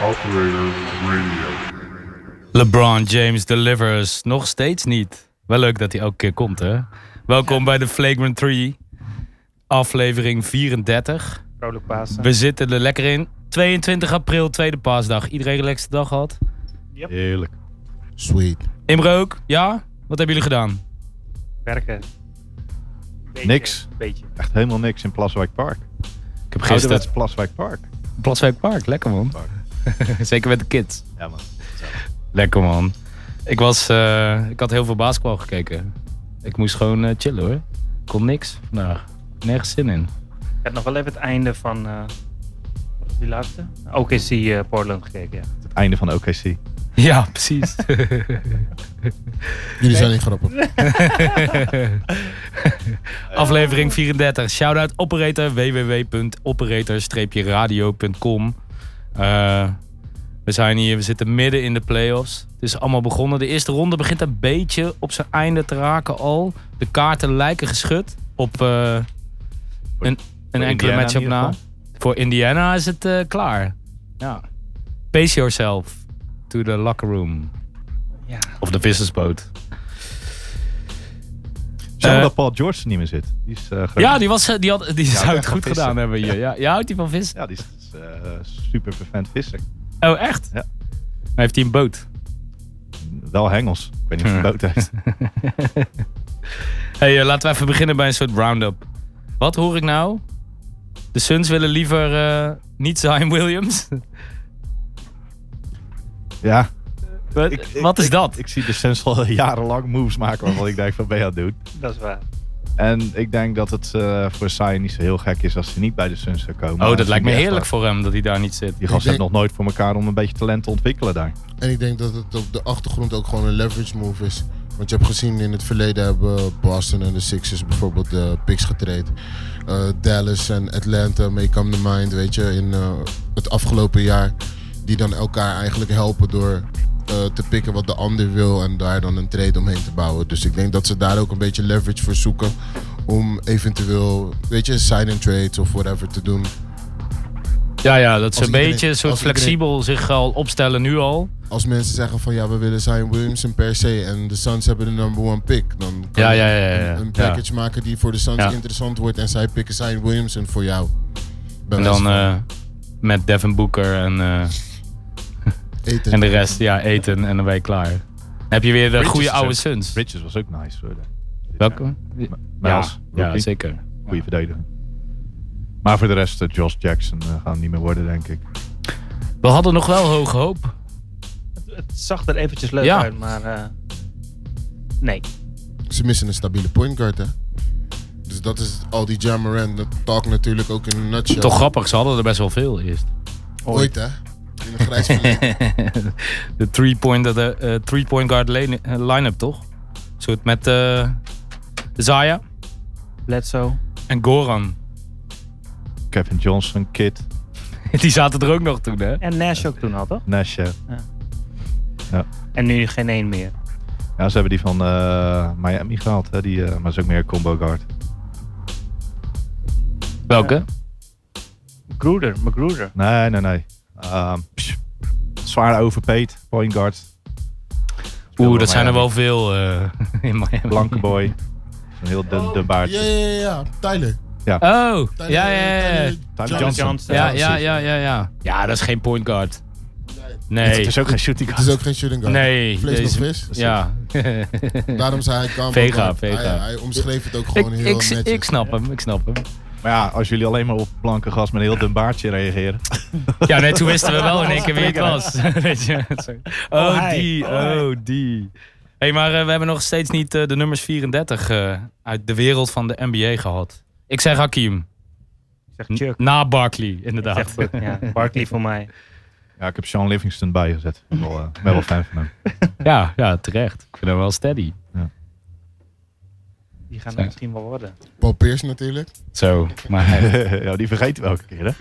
Oh! LeBron James delivers nog steeds niet. Wel leuk dat hij elke keer komt, hè? Welkom bij de Flagrant 3, aflevering 34. Vrolijk Pasen. We zitten er lekker in. 22 april, tweede paasdag. Iedereen een relaxte dag gehad? Heerlijk. Sweet. Imre ook? Ja? Wat hebben jullie gedaan? Werken. Beetje, Niks. Beetje. Echt helemaal niks in Plaswijk Park. Ik heb Ouderwets Plaswijk Park. Plaswijk Park, lekker man. Zeker met de kids. Ja man. Lekker man. Ik, was, eh, ik had heel veel basketbal gekeken. Ik moest gewoon eh, chillen hoor. Kon niks vandaag. Nergens zin in. Ik heb nog wel even het einde van... eh, wat was die laatste? OKC eh Portland gekeken, ja. Het einde van OKC. Ja, precies. Jullie zijn niet grappig. Aflevering 34. Shoutout operator www.operator-radio.com. Eh, we zijn hier, we zitten midden in de playoffs. Het is allemaal begonnen. De eerste ronde begint een beetje op zijn einde te raken al. De kaarten lijken geschud op eh, een, een enkele Indiana matchup in ieder na. Voor Indiana is het eh, klaar. Ja. Pace yourself to the locker room. Ja. Of de vissersboot. Zou Eh, dat Paul George er niet meer zit? Die is, eh, groot. Ja, die, was, eh, die, had, die houdt zou het echt van goed vissen. gedaan hebben hier. Ja. Ja. Je houdt die van vissen? ja, die is eh, super vervent visser. Oh, echt? Ja. Heeft hij een boot? Wel hengels. Ik weet niet of hij Ja. boot heeft. hey, eh, laten we even beginnen bij een soort round-up. Wat hoor ik nou? De Suns willen liever eh, niet Zion Williams. Ja. Wat, Ik- ik- wat is ik- dat? Ik zie de Suns al jarenlang moves maken waarvan ik denk van ben je aan het doen. Dat is waar. En ik denk dat het eh, voor Sai niet zo heel gek is als hij niet bij de Suns zou komen. oh, Hij dat is lijkt me echt heerlijk wel- voor hem dat hij daar niet zit. Die gast Ik denk- heeft nog nooit voor elkaar om een beetje talent te ontwikkelen daar. En ik denk dat het op de achtergrond ook gewoon een leverage move is. Want je hebt gezien in het verleden hebben Boston en de Sixers bijvoorbeeld de picks getraind. Eh, Dallas en Atlanta, make up the mind, weet je, in eh, het afgelopen jaar. Die dan elkaar eigenlijk helpen door eh, te pikken wat de ander wil en daar dan een trade omheen te bouwen. Dus ik denk dat ze daar ook een beetje leverage voor zoeken. Om eventueel, weet je, sign-and trades of whatever te doen. Ja, ja, dat ze Als een iedereen- beetje een soort als iedereen- flexibel zich al opstellen nu al. als mensen zeggen van ja, we willen Zion Williamson per se en de Suns hebben de number one pick, dan kan Ja, ja, je ja, ja, ja. Een, een package maken die voor de Suns Ja. interessant wordt en zij pikken Zion Williamson voor jou. Bij En wijze dan van eh, met Devin Booker en, eh, eten. en de rest, ja, eten en dan ben je klaar. Dan heb je weer de goede Richardson. oude Suns. Bridges was ook nice. Hoor. Welkom. Ja, Miles, ja, rookie. zeker. Goede verdediger. Maar voor de rest, eh, Josh Jackson eh, gaan niet meer worden, denk ik. We hadden nog wel hoge hoop. Het, het zag er eventjes leuk Ja. uit, maar... eh, nee. Ze missen een stabiele point guard, hè? Dus dat is al die Jam Moran, dat talk natuurlijk ook in een nutshell. Toch grappig, ze hadden er best wel veel eerst. Ooit, hè? In een grijs verleden. de three-point de, eh, three-point guard lane- eh, line-up, toch? Een soort met eh Zaya Bledsoe. en Goran. Kevin Johnson, Kid, Die zaten er ook nog toen, hè? En Nash ook toen al, toch? Nash. eh. En nu geen één meer. Ja, ze hebben die van eh, Miami gehaald, hè? Die, eh, maar dat is ook meer combo guard. Welke? Gruder, McGruder. Nee, nee, nee. Ehm, psh, zwaar overpaid, point guard. Oeh, Speelde dat zijn er wel Miami. veel eh, in Miami. Blanke boy. Een heel dun, dun baardje. ja, ja, ja, ja. Tyler. Oh, ja, Tyler eh, ja, ja. Tyler ja. Tyler Johnson. Johnson. Johnson. Ja, ja, ja, ja, ja. Ja, dat is geen point guard. Nee. Het Nee. is ook geen shooting Het guard. is ook geen shooting guard. Nee. Vlees nog deze- vis. Ja. Daarom zei hij kan. Vega, Vega. Hij, hij omschreef het ook ik, gewoon heel ik, netjes. ik snap hem, ik snap hem. Maar ja, als jullie alleen maar op blanke gast met een heel dun baardje reageren. Ja, nee, toen wisten we wel in één keer wie het was. Weet je? Sorry. Oh, Oh, hij. die, Oh, hij. oh, die. hey, maar eh, we hebben nog steeds niet eh, de nummers 34 eh, uit de wereld van de NBA gehad. Ik zeg Hakim. Ik zeg Chuck. Na Barkley, inderdaad. Ik zeg Buck, ja. Barkley voor mij. Ja, ik heb Sean Livingston bijgezet. Ik ben wel, eh, ik ben wel fan van hem. ja, ja, terecht. Ik vind hem wel steady. Die gaan Zo. er misschien wel worden. Paul Pierce natuurlijk. Zo, maar hij- ja, die vergeten we elke keer, hè?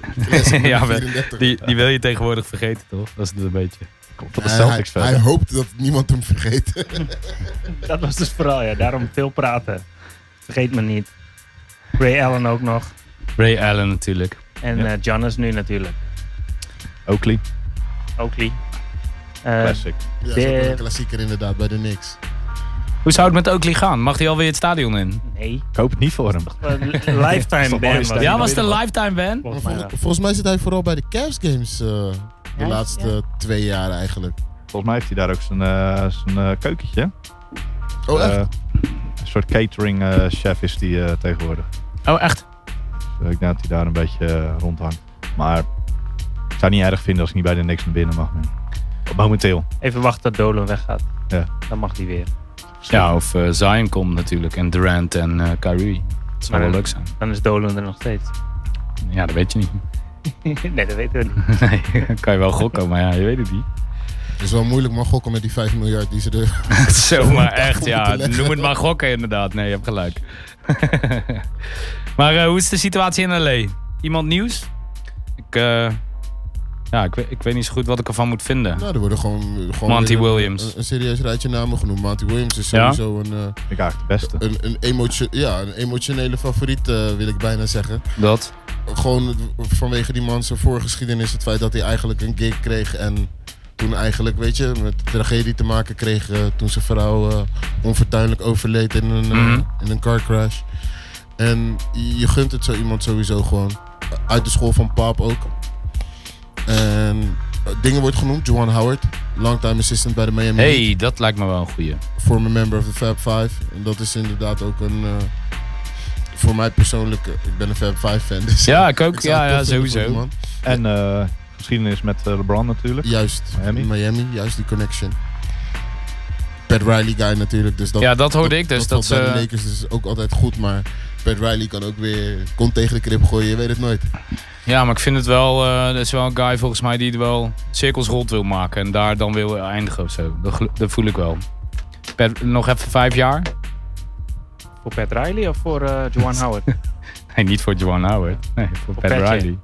ja, we- 34. die, die wil je tegenwoordig vergeten, toch? Dat is het een beetje. Komt op de Hij- Celtics hij, hij verder. hoopt dat niemand hem vergeet. Dat was dus vooral, ja. Daarom veel praten. Vergeet me niet. Ray Allen ook nog. Ray Allen natuurlijk. En Ja. eh, Giannis nu natuurlijk. Oakley. Oakley. Eh, Classic. Ja, dat is ook wel De- een klassieker inderdaad bij de Knicks. Hoe zou het met Oakley gaan? Mag hij alweer het stadion in? nee. Ik hoop het niet voor hem. Eh, lifetime mooi, ban. is dat? Ja, hij. was het een lifetime ban? Maar Volgens mij vol- wel. volgens mij zit hij vooral bij de Cavs games eh, de Ja, laatste twee jaar eigenlijk. Volgens mij heeft hij daar ook zijn, eh, zijn eh, keukentje. Oh echt? Eh, een soort catering eh, chef is die eh, tegenwoordig. Oh, echt? Dus ik denk dat hij daar een beetje eh, rondhangt. Maar ik zou het niet erg vinden als ik niet bij de niks naar binnen mag. man. Momenteel. Even wachten tot Dolan weggaat. Ja. Dan mag hij weer. Ja, of eh, Zion komt natuurlijk. En Durant en eh, Kyrie. Dat zou wel Maar- leuk zijn. Dan is Dolan er nog steeds. Ja, dat weet je niet. nee, dat weten we niet. Nee, kan je wel gokken, maar ja, je weet het niet. Het is wel moeilijk maar gokken met die 5 miljard die ze er... Zomaar echt, goed ja. te leggen. Noem het maar gokken, inderdaad. Nee, je hebt gelijk. maar eh, hoe is de situatie in L.A.? Iemand nieuws? Ik, eh, ja, ik, weet- ik weet niet zo goed wat ik ervan moet vinden. nou, er worden gewoon... gewoon Monty weer een- Williams. Een, een serieus rijtje namen genoemd. Monty Williams is Ja? sowieso een, eh, Ik eigenlijk de beste. een, een, emotio- ja, een emotionele favoriet, eh, wil ik bijna zeggen. Dat? gewoon vanwege die man zijn voorgeschiedenis, het feit dat hij eigenlijk een gig kreeg en toen eigenlijk, weet je, met tragedie te maken kreeg eh, toen zijn vrouw eh, onfortuinlijk overleed in een, eh, Mhm. in een car crash. En je gunt het zo iemand sowieso gewoon. Uit de school van Paap ook. En eh, dingen wordt genoemd, Juwan Howard, longtime assistant bij de Miami Heat hey, dat lijkt me wel een goeie. former member of the Fab Five. En dat is inderdaad ook een. eh, voor mij persoonlijk, eh, ik ben een Fab Five fan. Dus Ja, ik ook. zou Ja, het ja, tof vinden voor sowieso. die man. En eh, geschiedenis met eh, LeBron natuurlijk. Juist, Miami. Miami. juist die connection. Pat Riley guy natuurlijk. Dus dat, Ja, dat hoorde ik dus. Dat valt bij de ze, Lakers is ook altijd goed, maar Pat Riley kan ook weer kont tegen de krip gooien. Je weet het nooit. ja, maar ik vind het wel... eh dat is wel een guy volgens mij die er wel cirkels rond wil maken. En daar dan wil eindigen of zo. Dat, gel- dat voel ik wel. Per- nog even vijf jaar? Voor Pat Riley of voor eh Juwan Howard? Nee, niet voor Joan Howard. Nee, voor Pat Patje. Riley.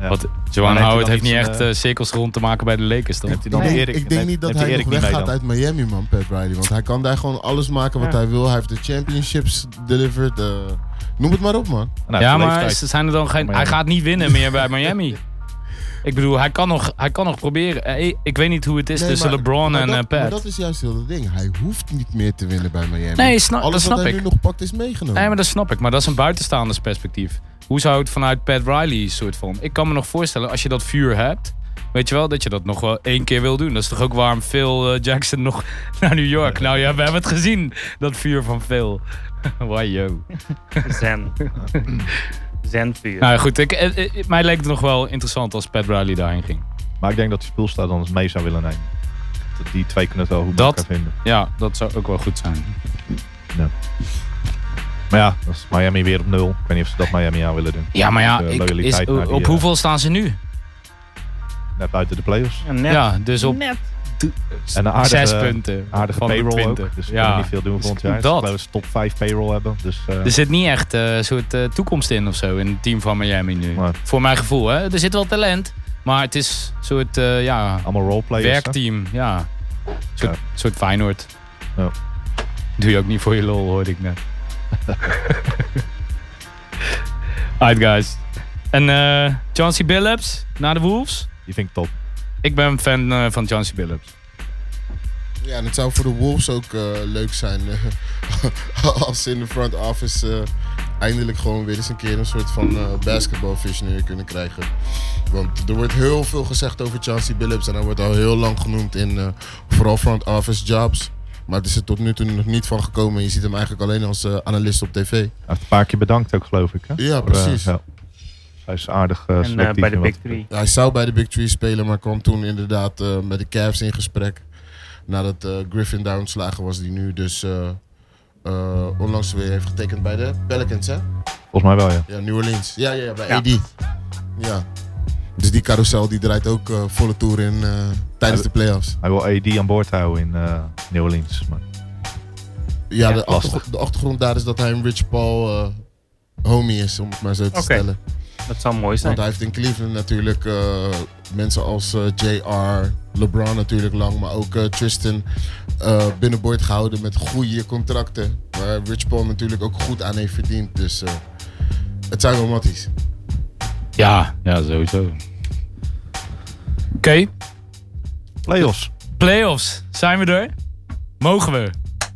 Ja. Want Maar Joan heeft Howard hij heeft dan niet iets, echt eh, eh, cirkels rond te maken bij de Lakers, toch? Neemt hij dan ik, denk- Erik, ik denk niet dat hij nog Erik niet mee weggaat dan? uit Miami, man, Pat Riley. Want hij kan daar gewoon alles maken wat Ja. hij wil. Hij heeft de championships delivered. eh, noem het maar op, man. Nou, ja, de maar leeftijd. is- zijn er dan geen, Miami. hij gaat niet winnen meer bij Miami. Ik bedoel, hij kan nog, hij kan nog proberen. Eh, Ik weet niet hoe het is Nee, tussen maar- LeBron maar en dat, eh, maar Pat. dat is juist heel het ding. Hij hoeft niet meer te winnen bij Miami. nee, sna- Alles dat snap wat hij ik. nu nog pakt is meegenomen. Nee, maar dat snap ik. Maar dat is een buitenstaanders perspectief. Hoe zou het vanuit Pat Riley soort van? Ik kan me nog voorstellen, als je dat vuur hebt... Weet je wel, dat je dat nog wel één keer wil doen. Dat is toch ook waarom Phil eh, Jackson nog naar New York... Nou ja, we hebben het gezien, dat vuur van Phil. Why yo. Zen. Zenvuur. Nou ja, goed, ik, eh, eh, mij leek het nog wel interessant als Pat Riley daarheen ging. Maar ik denk dat Spulsta dan eens mee zou willen nemen. Dat Die twee kunnen het wel goed Dat- dat... vinden. Ja, dat zou ook wel goed zijn. Maar ja, dat is Miami weer op nul. Ik weet niet of ze dat Miami aan willen doen. Ja, maar ja, De ik, loyaliteit is, naar die, op eh, hoeveel staan ze nu? Net buiten de playoffs. Ja, net. Ja, dus op Net. En een aardige, zes punten. aardige van de payroll 20. ook. Dus ze kunnen ja. niet veel doen Dus volgend jaar. dat. Dat. Ze een top 5 payroll hebben. Dus, eh, Er zit niet echt eh, een soort eh, toekomst in of zo in het team van Miami nu. Nee. Voor mijn gevoel, hè. Er zit wel talent, maar het is een soort eh, ja, allemaal roleplayers. hè? werkteam. Ja. Een soort, Ja. soort Feyenoord. Ja. Doe je ook niet voor je lol, hoorde ik net. Alright, guys. En eh Chauncey Billups naar de Wolves. Die vind ik top. Ik ben fan eh, van Chauncey Billups. Ja, en het zou voor de Wolves ook eh, leuk zijn eh, als ze in de front office eh, eindelijk gewoon weer eens een keer een soort van eh basketbalfish neer kunnen krijgen. Want er wordt heel veel gezegd over Chauncey Billups en hij wordt al heel lang genoemd in eh, vooral front office jobs. Maar het is er tot nu toe nog niet van gekomen. Je ziet hem eigenlijk alleen als eh, analist op tv. Hij heeft een paar keer bedankt ook, geloof ik. Hè? Ja, Voor, eh, precies. ja. Hij is aardig eh, En eh, selectief. bij de in wat- Big Three. Hij zou bij de Big Three spelen, maar kwam toen inderdaad eh, met de Cavs in gesprek. Nadat eh, Griffin daar ontslagen was, die nu dus eh, eh, onlangs weer heeft getekend bij de Pelicans, hè? Volgens mij wel, ja. Ja, New Orleans. Ja, ja, ja bij Ja. AD. Ja. Dus die carousel die draait ook eh, volle toer in eh, tijdens de playoffs. Hij wil AD aan boord houden in eh, New Orleans. Maar Dus- Ja, Ja, de, lastig. achtergrond, de achtergrond daar is dat hij een Rich Paul eh, homie is, om het maar zo te Oké. stellen. Dat zou mooi zijn. Want hij heeft in Cleveland natuurlijk eh, mensen als eh, JR, LeBron natuurlijk lang, maar ook eh, Tristan eh binnenboord gehouden met goede contracten. Waar Rich Paul natuurlijk ook goed aan heeft verdiend. Dus eh, het zijn wel matties. Ja, ja, sowieso. Oké. Playoffs. Playoffs, zijn we er? Mogen we?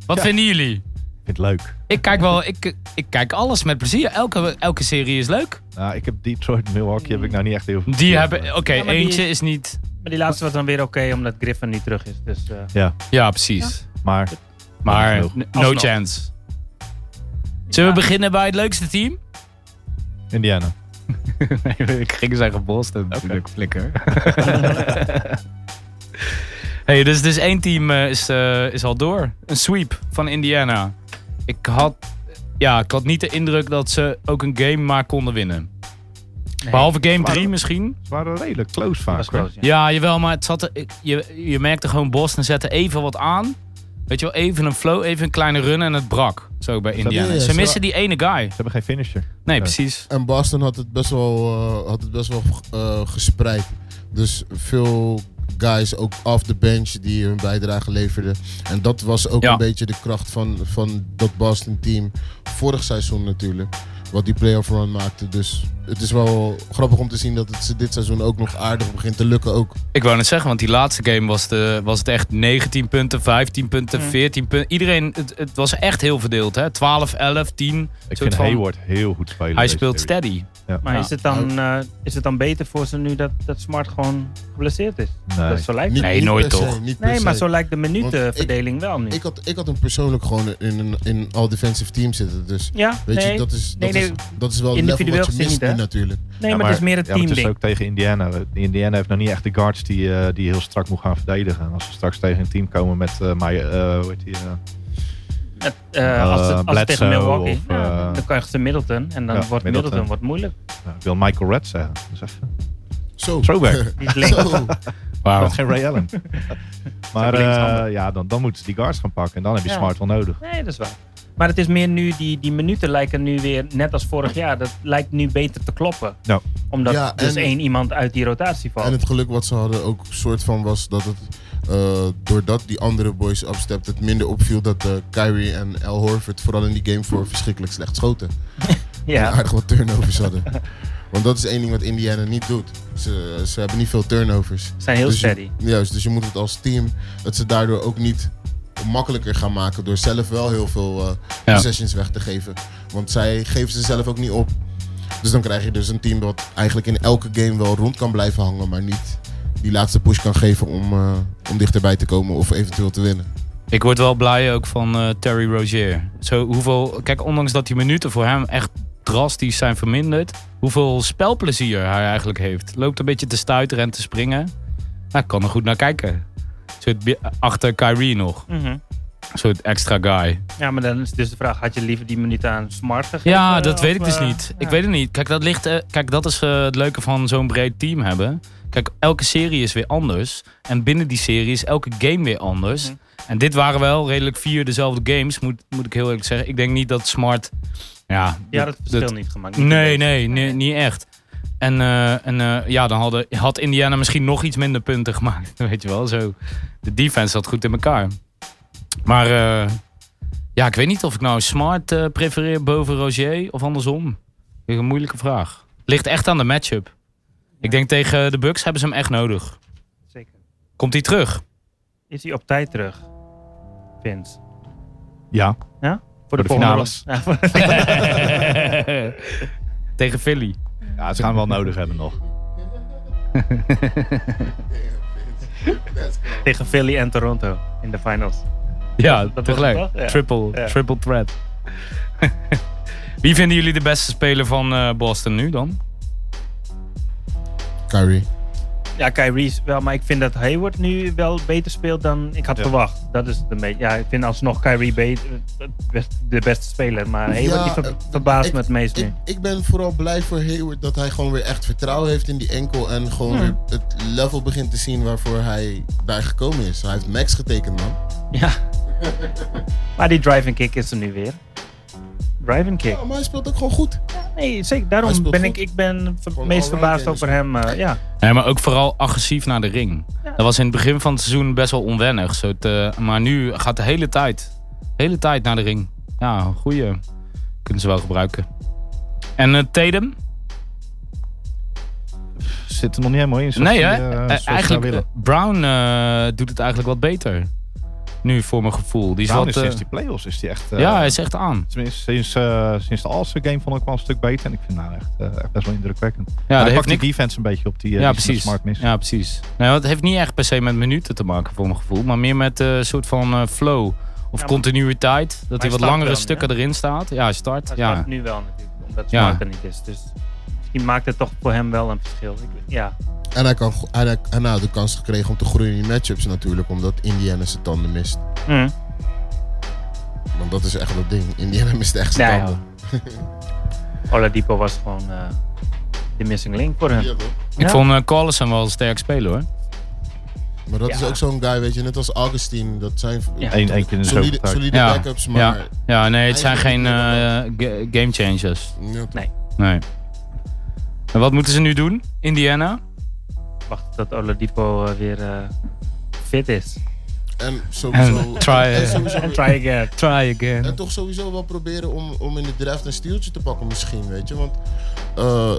Wat Ja. vinden jullie? Ik vind het leuk. Ik kijk wel, ik, ik kijk alles met plezier. Elke, elke serie is leuk. Nou, ik heb Detroit Milwaukee heb ik nou niet echt heel veel. Die hebben, oké, Ja, maar die- eentje is niet. Maar die laatste was dan weer oké, omdat Griffin niet terug is. Dus eh, Ja, precies. Maar Maar Alsnog. n- no Alsnog. chance. Zullen we Ja. beginnen bij het leukste team? Indiana. nee, ik ging zeggen Boston. Natuurlijk, flikker. hey, dus, dus één team eh, is, eh, is al door. Een sweep van Indiana. Ik had, ja, ik had niet de indruk dat ze ook een game maar konden winnen. Behalve game Maar- 3 misschien. Ze waren redelijk close vaak. was hoor. close, ja. Ja, jawel, maar het zat er, ik- je, je merkte gewoon Boston zette even wat aan. Weet je wel, even een flow, even een kleine run en het brak. Zo bij Indiana. Ja, ja, ze zo- missen die ene guy. Ze hebben geen finisher. Nee, Ja. precies. En Boston had het best wel, eh, had het best wel eh, gespreid. Dus veel guys ook off the bench die hun bijdrage leverden. En dat was ook Ja. een beetje de kracht van, van dat Boston team vorig seizoen natuurlijk. Wat die playoff run maakte. Dus het is wel grappig om te zien dat het ze dit seizoen ook nog aardig begint te lukken. Ook. Ik wou net zeggen, want die laatste game was, de, was het echt 19 punten, 15 punten, Mm. 14 punten. Iedereen, het, het was echt heel verdeeld. Hè? 12, 11, 10. Ik Soort vind van- Hayward heel goed spelen. Hij deze speelt serie. steady. Maar Ja. is, het dan, eh, is het dan beter voor ze nu dat, dat Smart gewoon geblesseerd is? Nee. Dat zo lijkt Niet, Nee, niet nooit per se, toch. niet per Nee, maar se. zo lijkt de minutenverdeling minutenverdeling wel nu. Ik had, ik had hem persoonlijk gewoon in een in all defensive team zitten. Dus ja, weet nee, je, dat is, dat, nee, nee. is, dat is wel het level Individueel wat je gezien mist niet, hè? nu natuurlijk. nee Ja, maar, het is meer het ja, maar teamding. Het is ook tegen Indiana. Indiana heeft nog niet echt de guards die, eh, die heel strak moet gaan verdedigen. En als ze straks tegen een team komen met eh maar, eh, hoe heet die, eh, Het, eh, als het, als het Bledsoe tegen Milwaukee, of, ja, eh, dan krijgt ze Middleton. En dan ja, wordt Middleton, Middleton. wat moeilijk. nou, ik wil Michael Red zeggen. Dus even. Zo. Throwback. Die is links. Zo. Wauw. Dat is geen Ray Allen. maar Zo'n linkshander. eh, ja, dan, dan moeten ze die guards gaan pakken. En dan heb je Ja. Smart wel nodig. Nee, dat is waar. Maar het is meer nu, die, die minuten lijken nu weer, net als vorig jaar, dat lijkt nu beter te kloppen. Ja. Omdat Ja, dus en- één iemand uit die rotatie valt. En het geluk wat ze hadden ook soort van was dat het eh, doordat die andere boys upstept het minder opviel dat eh, Kyrie en Al Horford vooral in die game voor verschrikkelijk slecht schoten. En ja. aardig wat turnovers hadden. Want dat is één ding wat Indiana niet doet. Ze, ze hebben niet veel turnovers. Ze zijn heel dus steady. Je, juist, dus je moet het als team dat ze daardoor ook niet makkelijker gaan maken door zelf wel heel veel eh Ja. possessions weg te geven. Want zij geven ze zelf ook niet op. Dus dan krijg je dus een team wat eigenlijk in elke game wel rond kan blijven hangen, maar niet die laatste push kan geven om, eh, om dichterbij te komen of eventueel te winnen. Ik word wel blij ook van eh, Terry Rozier. Zo, hoeveel, kijk, ondanks dat die minuten voor hem echt drastisch zijn verminderd, hoeveel spelplezier hij eigenlijk heeft. Loopt een beetje te stuiteren en te springen. Nou, ik kan er goed naar kijken. Zit bi- achter Kyrie nog. Mhm. Een soort extra guy. Ja, maar dan is dus de vraag, had je liever die minuten aan Smart gegeven? Ja, dat of, weet ik dus eh, niet. ja. Ik weet het niet. Kijk, dat, ligt, eh, kijk, dat is eh, het leuke van zo'n breed team hebben. Kijk, elke serie is weer anders. En binnen die serie is elke game weer anders. Mhm. En dit waren wel redelijk vier dezelfde games, moet, moet ik heel eerlijk zeggen. Ik denk niet dat Smart... Ja, Ja, dat verschil dat- niet gemaakt. Niet Nee, een nee, beetje. nee, niet echt. En, eh, en eh, ja, dan hadden, had Indiana misschien nog iets minder punten gemaakt. Weet je wel, zo. De defense zat goed in elkaar. Maar eh, ja, ik weet niet of ik nou Smart eh, prefereer boven Roger of andersom. Vind ik Een moeilijke vraag. Ligt echt aan de matchup. Ik denk tegen de Bucks hebben ze hem echt nodig. Zeker. Komt hij terug? Is hij op tijd terug, Vince? Ja, Voor de volgende finales. ronde. Ja, voor- tegen Philly. ja ze gaan hem wel nodig hebben nog. Tegen Philly en Toronto in de finals. Ja, Dat was tegelijk. het toch? Ja. Triple, Ja. triple threat. Wie vinden jullie de beste speler van eh, Boston nu dan? Kyrie. Ja, Kyrie is wel, maar ik vind dat Hayward nu wel beter speelt dan ik had Ja. verwacht. Dat is het een beetje. Ja, ik vind alsnog Kyrie beter, het best- de beste speler, maar Hayward Ja, die ver- eh, verbaast ik- me het meest Ik, nu. ik ben vooral blij voor Hayward dat hij gewoon weer echt vertrouwen heeft in die enkel. En gewoon Hmm. weer het level begint te zien waarvoor hij daar gekomen is. Hij heeft max getekend, man. Ja. maar die driving kick is er nu weer. Driving kick. Ja, maar hij speelt ook gewoon goed. Nee, zeker. Hij Daarom speelt ben goed. ik, ik ben ver- Gewoon meest all-round verbaasd kennis. over hem. eh, ja. Nee, maar ook vooral agressief naar de ring. Dat was in het begin van het seizoen best wel onwennig. Zo te- maar nu gaat de hele tijd, hele tijd naar de ring. Ja, goeie. Kunnen ze wel gebruiken. En eh Tatum? Ze zit er nog niet helemaal in. zoals nee, die, hè? eh, Eh, zoals ze eigenlijk, willen. eh, Brown eh, doet het eigenlijk wat beter. Nu, voor mijn gevoel. Die is Brown wat, is eh, sinds die play-offs is die echt... eh, ja, hij is echt aan. Tenminste, sinds, eh, sinds de All-Star game vond ik wel een stuk beter. En ik vind nou echt, eh, echt best wel indrukwekkend. Ja, dat hij pakt heeft die niks, defense een beetje op die, eh, ja, die precies. smart miss. Ja, precies. Nou, het heeft niet echt per se met minuten te maken, voor mijn gevoel. Maar meer met een soort van eh, flow. Of maar- continuïteit. Dat hij hij wat start langere dan, stukken erin staat. Ja, hij start. Dat ja. gaat nu wel natuurlijk, omdat Ja. Smart er niet is. Dus misschien maakt het toch voor hem wel een verschil. Ik, ja, En hij, kan, go- en hij, en hij had de kans gekregen om te groeien in die matchups natuurlijk, omdat Indiana zijn tanden mist. Hm. Want dat is echt dat ding. Indiana mist echt zijn Nou ja. tanden. Oladipo was gewoon eh, de missing link voor hem. Ja, toch? Ik Ja. vond eh Collison wel een sterk speler, hoor. Maar dat Ja. is ook zo'n guy, weet je, net als Augustine. Dat zijn Ja. Eén één keer in de zoveel solide, tijd. solide Ja. backups, maar... Ja. Ja, nee, het zijn geen Eigenlijk eh, ga- game changers. Ja, toch? Nee. En wat moeten ze nu doen? Indiana? Wacht tot Oladipo eh, weer eh, fit is. En sowieso... En try- en sowieso- En try again. Try again. En toch sowieso wel proberen om, om in de draft een stieltje te pakken misschien, weet je. Want eh,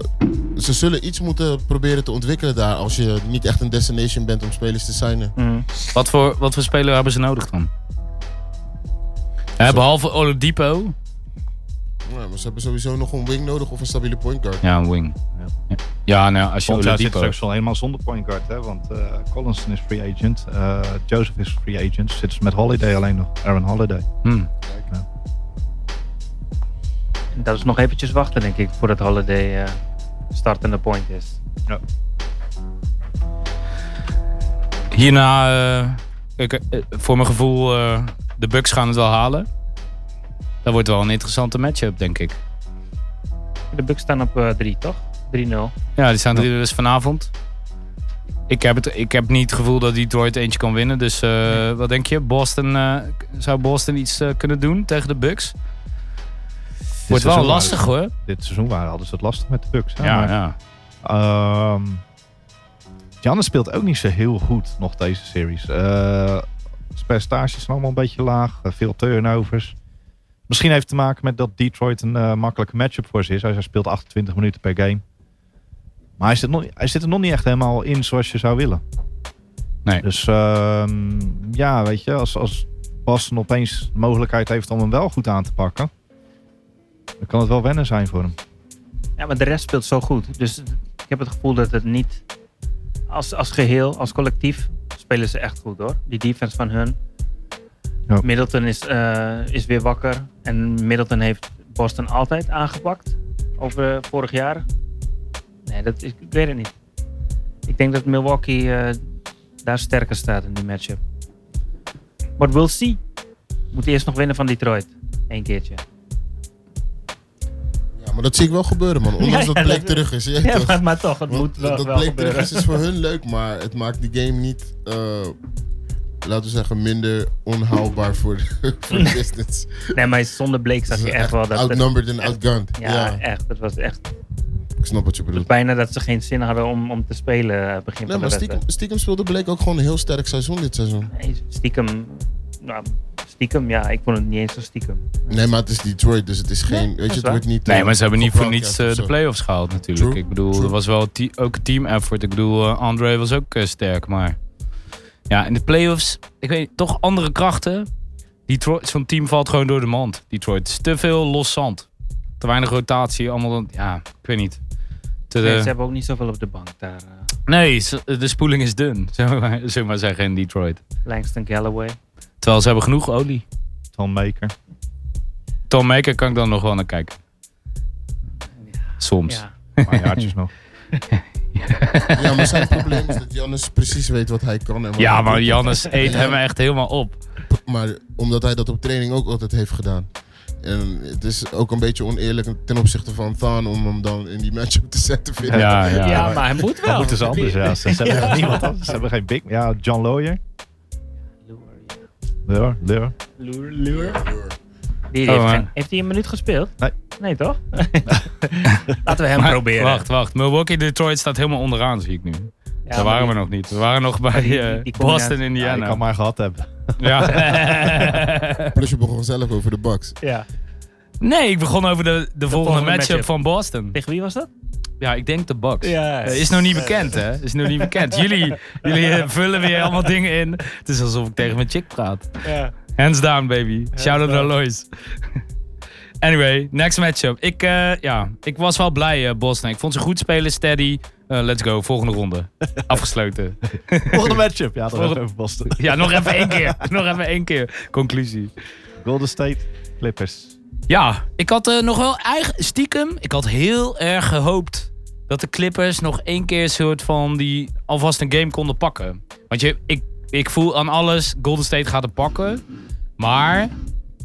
ze zullen iets moeten proberen te ontwikkelen daar als je niet echt een destination bent om spelers te signen. Hm. Wat voor, wat voor speler hebben ze nodig dan? Hè, behalve Oladipo. Ja, maar ze hebben sowieso nog een wing nodig of een stabiele point guard. Ja, een wing. Ja. Ja, ja nou, als je Want daar zit Oladipo... straks dus wel helemaal zonder point guard. Hè? Want eh Collinson is free agent. eh, Joseph is free agent. Zit ze met Holiday alleen nog. Aaron Holiday. Hm. Dat is nog eventjes wachten, denk ik, voordat Holiday eh startende point is. Hierna, eh, kijk, eh, voor mijn gevoel, eh, de Bucks gaan het wel halen. Dat wordt wel een interessante matchup, denk ik. De Bucks staan op eh, 3, toch? 3-0. Ja, die staan er dus vanavond. Ik heb, het, ik heb niet het gevoel dat Detroit eentje kan winnen. Dus eh, wat denk je? Boston, eh, k- zou Boston iets eh, kunnen doen tegen de Bucks? Wordt wel seizoen lastig hoor. Dit seizoen waren, hadden ze het lastig met de Bucks. Hè? Ja, Maar, ja. ehm, Giannis speelt ook niet zo heel goed nog deze series. Eh zijn percentages zijn allemaal een beetje laag. eh, veel turnovers. Misschien heeft het te maken met dat Detroit een eh, makkelijke matchup voor ze is. Hij hij speelt 28 minuten per game. Maar hij zit, nog, hij zit er nog niet echt helemaal in zoals je zou willen. Nee. Dus ehm, ja, weet je, als, als Boston opeens de mogelijkheid heeft om hem wel goed aan te pakken, dan kan het wel wennen zijn voor hem. Ja, maar de rest speelt zo goed. Dus ik heb het gevoel dat het niet... Als, als geheel, als collectief, spelen ze echt goed hoor. Die defense van hun. Ja. Middleton is, eh, is weer wakker. En Middleton heeft Boston altijd aangepakt. Over eh, vorig jaar. Nee, dat is, ik weet het niet. Ik denk dat Milwaukee eh, daar sterker staat in die matchup. But we'll see. Moet eerst nog winnen van Detroit. Eén keertje. Ja, maar dat zie ik wel gebeuren, man. Ja, Ondanks ja, dat Blake dat- terug is. je weet Ja, toch? maar, maar toch, het Want moet wel, dat wel Blake gebeuren. terug is, is voor hun leuk, maar het maakt de game niet, eh, laten we zeggen, minder onhaalbaar voor de, voor de business. Nee, maar zonder Blake zag Ze je zijn echt wel dat... het- Outnumbered en echt- outgunned. ja, Ja, echt. Dat was echt ik snap wat je bedoelt. bijna dat ze geen zin hadden om, om te spelen eh, begin Nee, van maar de stiekem, wedstrijd. stiekem speelde Blake ook gewoon een heel sterk seizoen dit seizoen. Nee, stiekem... Nou, stiekem, ja. Ik vond het niet eens zo stiekem. Nee, maar het is Detroit, dus het is geen. dat weet is je, het waar. wordt niet. Nee, eh, maar ze hebben niet voor niets gebroadcast eh, of de zo. playoffs gehaald natuurlijk. True, Ik bedoel, true. er was wel te- ook een team effort. Ik bedoel, eh, Andre was ook eh, sterk, maar... Ja, in de playoffs, ik weet niet, toch andere krachten. Detroit, zo'n team valt gewoon door de mand. Detroit is te veel los zand. Te weinig rotatie, allemaal dan... Ja, ik weet niet. Te, Nee, de- ze hebben ook niet zoveel op de bank daar. eh. Nee, ze- de spoeling is dun, zullen we maar- zullen we maar zeggen in Detroit. Langston Galloway. Terwijl ze hebben genoeg olie. Tom Maker. Tom Maker kan ik dan nog wel naar kijken. Soms. Ja. Een paar jaartjes nog. Ja, maar zijn probleem is dat Jannes precies weet wat hij kan. En wat Ja, hij maar doet. Jannes eet hem echt helemaal op. Maar omdat hij dat op training ook altijd heeft gedaan. En het is ook een beetje oneerlijk ten opzichte van Thaan om hem dan in die matchup te zetten. Vind ik. Ja, ja. Ja, maar hij moet wel. Dat dus- moeten ze anders. Ja. Ze, ze hebben niemand anders. Ze hebben geen big. Ja, John Lawyer. Lure, ja. Lawyer. Lawyer. Lure, lure. Die Oh, heeft, maar- geen- heeft hij een minuut gespeeld? Nee. Nee, toch? Laten we hem Maar- proberen. Wacht, wacht. Milwaukee Detroit staat helemaal onderaan, zie ik nu. Ja, Daar maar waren die- we nog niet. We waren nog bij die- die- eh, die combinatie- Boston, Ja, nou. ik Indiana. kan maar gehad hebben. Ja. Plus je begon zelf over de Bucks. Ja. nee, ik begon over de, de, volgende, volgende matchup, matchup. van Boston. Tegen wie was dat? Ja, ik denk de Bucks. Ja. Eh, Is nog niet bekend, hè? Is nog niet bekend. Jullie, jullie eh, vullen weer allemaal dingen in. Het is alsof ik tegen mijn chick praat. Ja. Hands down, baby. Shout out down. naar Lois. Anyway, next matchup. Ik, eh, ja, ik was wel blij, eh Bosna. Ik vond ze goed spelen, steady. Eh, let's go, volgende ronde. Afgesloten. Volgende matchup. Ja, dat Volgende- hebben we over Boston. Ja, nog even één keer. Nog even één keer. Conclusie. Golden State Clippers. Ja, ik had eh, nog wel eigen, stiekem, ik had heel erg gehoopt dat de Clippers nog één keer een soort van die alvast een game konden pakken. Want je, ik, ik voel aan alles, Golden State gaat het pakken. Maar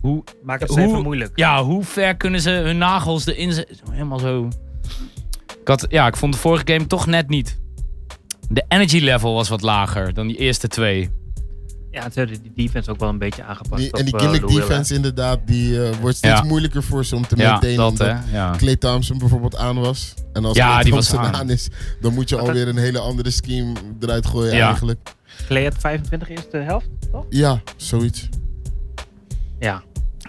hoe, Maak het Hoe- even moeilijk. ja, hoe ver kunnen ze hun nagels erin zetten? Zo Helemaal zo. Ik, had, ja, ik vond de vorige game toch net niet. De energy level was wat lager dan die eerste twee. Ja, het hebben die defense ook wel een beetje aangepast. Die, op, en die eh, gimmick Lou Will, hè. defense inderdaad, die eh, wordt steeds Ja. moeilijker voor ze om te Ja, maintainen. dat omdat hè. Ja. Clay Thompson bijvoorbeeld aan was. En als Ja, Klay die was Thompson aan. is, dan moet je Wat alweer een hele andere scheme eruit gooien Ja. eigenlijk. Clay had 25 eerste helft, toch? Ja, zoiets. Ja. En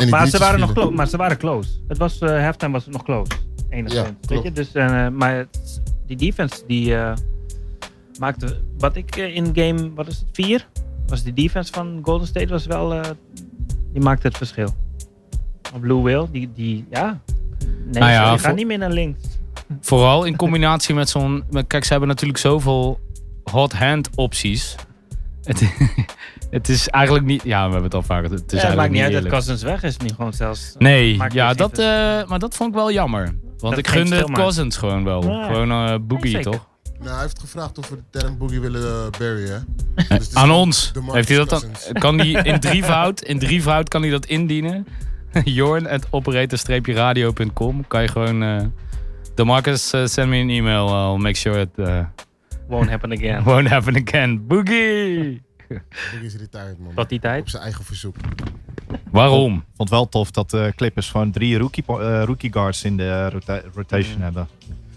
die Maar ze, drietjes waren nog vielen. clo- maar ze waren close. Het was, eh halftime was het nog close. Enigszins. Ja, weet klopt. je? Dus, eh, maar het- die defense die eh, maakte... Wat ik eh, in game, wat is het, 4? Was die defense van Golden State was wel... eh, die maakte het verschil. Op Blue Will, die, die ja... Nee, Nou ja, die voor- gaat niet meer naar links. Vooral in combinatie met zo'n. maar Kijk, ze hebben natuurlijk zoveel hot hand opties. Het, het is eigenlijk niet. Ja, we hebben het al vaker. Het is Ja, het maakt eigenlijk niet uit dat eerlijk. Cousins weg is. Nu gewoon zelfs... Nee, Maakt ja, niks dat, uit. eh, maar dat vond ik wel jammer. Want Dat ik geeft gunde stil het maar. Cousins gewoon wel. Ja. Gewoon eh Boogie, zeker. toch? Nou, hij heeft gevraagd of we de term boogie willen eh, barrieren. Aan ons. DeMarcus Heeft hij dat dan? Cousins. Kan hij in drievoud, in drievoud kan hij dat indienen? Jorn at operator-radio.com. Kan je gewoon. eh Demarcus, eh, send me an email. I'll make sure it eh, Won't happen again. won't happen again. Boogie! Boogie is retired, man. Tot die tijd. Op zijn eigen verzoek. Waarom? Vond wel tof dat de Clippers gewoon drie rookie, po- eh, rookie guards in de eh, rota- rotation hebben.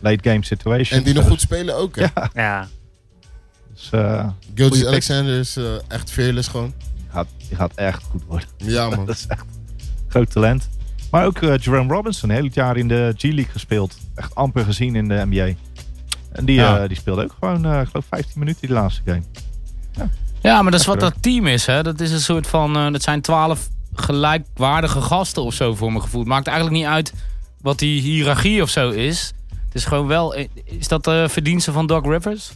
Late game situation. En die nog goed spelen ook, hè? Ja. Dus, eh, Goeie Gilgis pick. Alexander is eh, echt fearless gewoon. die, gaat, die gaat echt goed worden. Ja, man. Dat is echt groot talent. Maar ook eh, Jerome Robinson, heel het jaar in de G-League gespeeld. Echt amper gezien in de NBA. En die, Ja. eh, die speelde ook gewoon, eh, ik geloof, 15 minuten die laatste game. Ja, maar dat is wat Lekker. dat team is. Hè? Dat is een soort van. eh, dat zijn twaalf gelijkwaardige gasten of zo voor mijn gevoel. Het maakt eigenlijk niet uit wat die hiërarchie of zo is. Het is gewoon wel. eh, Is dat de verdienste van Doc Rivers?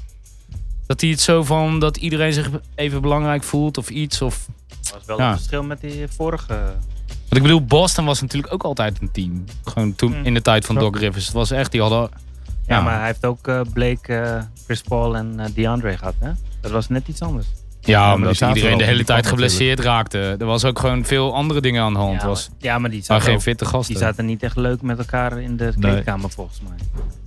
Dat hij het zo van dat iedereen zich even belangrijk voelt of iets. Of... Dat was wel Ja. het verschil met die vorige... Want ik bedoel, Boston was natuurlijk ook altijd een team. Gewoon toen Mm. in de tijd van Ja. Doc Rivers. Het was echt, die hadden. Ja, Ja. maar hij heeft ook eh, Blake, eh, Chris Paul en eh, DeAndre gehad, hè? Dat was net iets anders. Ja, die omdat zaten wel iedereen de op hele die tijd kant natuurlijk. geblesseerd raakte. Er was ook gewoon veel andere dingen aan de hand. ja, was, maar, ja, maar die maar zaten, geen ook- fitte gasten. die zaten niet echt leuk met elkaar in de kleedkamer, volgens mij.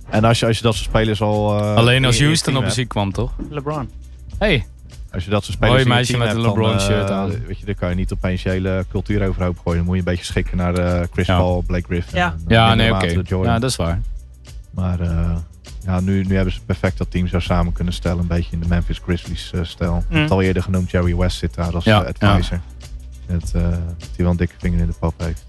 En als je, als je dat soort spelers al... eh, Alleen als in je Houston team op hebt, bezoek kwam, toch? LeBron. Hey, Als je dat soort spelers Hoi, in je meisje team met hebt, een dan, LeBron shirt eh, aan. Weet je, daar kan je niet opeens je hele cultuur overhoop gooien. Dan moet je een beetje schikken naar eh, Chris Ja. Paul, Blake Griffin. Ja. en, eh, Ja, in de nee, mate oké. dat Jordan. Ja, dat is waar. Maar eh, ja, nu, nu hebben ze perfect dat team zo samen kunnen stellen. Een beetje in de Memphis Grizzlies eh, stijl. Ik heb het al eerder genoemd, Jerry West zit daar als Mm. Ja, eh, advisor. Het, eh, dat hij wel een dikke vinger in de pap heeft.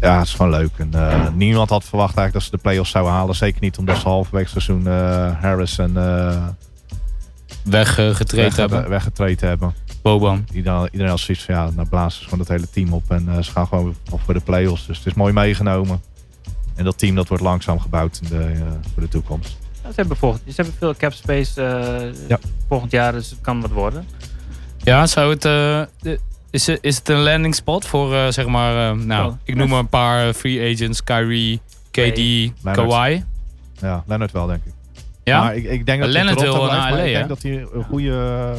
Ja, het is gewoon leuk. En, eh, Mm. niemand had verwacht eigenlijk dat ze de playoffs zouden halen. Zeker niet omdat ze halverwege het seizoen eh, Harris en eh Weggetreden wegge- hebben. weggetreden hebben. Boban. Iedereen, iedereen had zoiets van ja, nou blazen ze gewoon dat hele team op. En eh, ze gaan gewoon weer op voor de playoffs. Dus het is mooi meegenomen. En dat team dat wordt langzaam gebouwd in de, eh, voor de toekomst. Ja, ze, hebben volgend, ze hebben veel cap space eh, Ja. volgend jaar, dus het kan wat worden. Ja, zou het... eh, de- is, het- is het een landing spot voor, eh, zeg maar... eh, nou, Oh, ik noem maar een paar eh, free agents. Kyrie, KD, Leonard. Kawhi. Ja, Leonard wel, denk ik. Ja? Maar ik, ik denk dat hij Leonard wil Toronto blijft, naar maar LA, Ik hè? denk dat hij een goede,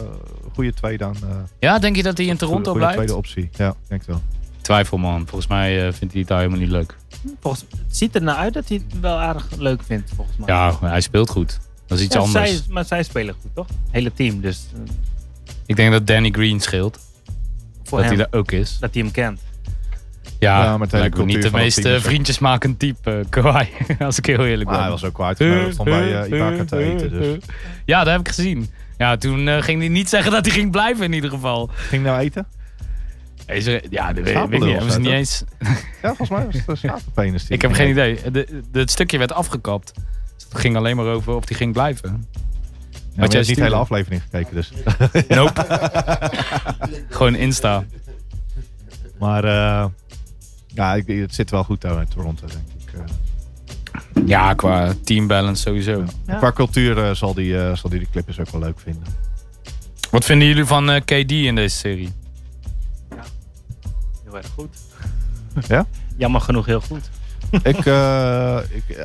goede tweede aan... eh, ja, denk je dat hij in goede- Toronto goede blijft? tweede optie. Ja, ik denk het wel. Twijfel, man. Volgens mij eh, vindt hij het daar helemaal niet leuk. Oh. Volgens, het ziet er naar uit dat hij het wel aardig leuk vindt, volgens mij. Ja, hij speelt goed. Dat is iets Ja, anders. zij, maar zij spelen goed, toch? Hele team, dus eh, Ik denk dat Danny Green scheelt. Oh, voor dat hem, hij daar ook is. dat hij hem kent. Ja, Ja, maar het hele lijkt me niet cultuur de van het meest team is eh, ook- vriendjesmakend type, eh, Kawhi. Als ik heel eerlijk Maar ben. hij was ook kwaad uitgenodigd om bij eh, Ibaka te eten. Dus. Ja, dat heb ik gezien. Ja, toen eh, ging hij niet zeggen dat hij ging blijven in ieder geval. Ging hij nou eten? Is er- ja, dat weet, weet ik Schapenlul niet. of Hebben ze zo, niet toch? eens. Ja, volgens mij was het een schapenpenis. die- Ik heb geen idee. De, de, het stukje werd afgekapt. Dus het ging alleen maar over of die ging blijven. Ja, maar jij je hebt niet stuurde. de hele aflevering gekeken, dus. Nope. Gewoon Insta. Maar eh, ja, ik, het zit wel goed daar in Toronto, denk ik. Eh, Ja, qua team balance sowieso. Ja. Qua cultuur eh, zal, die, eh, zal die de clip eens ook wel leuk vinden. Wat vinden jullie van eh, KD in deze serie? Heel erg goed. Ja? Jammer genoeg heel goed. ik, eh ik, ja,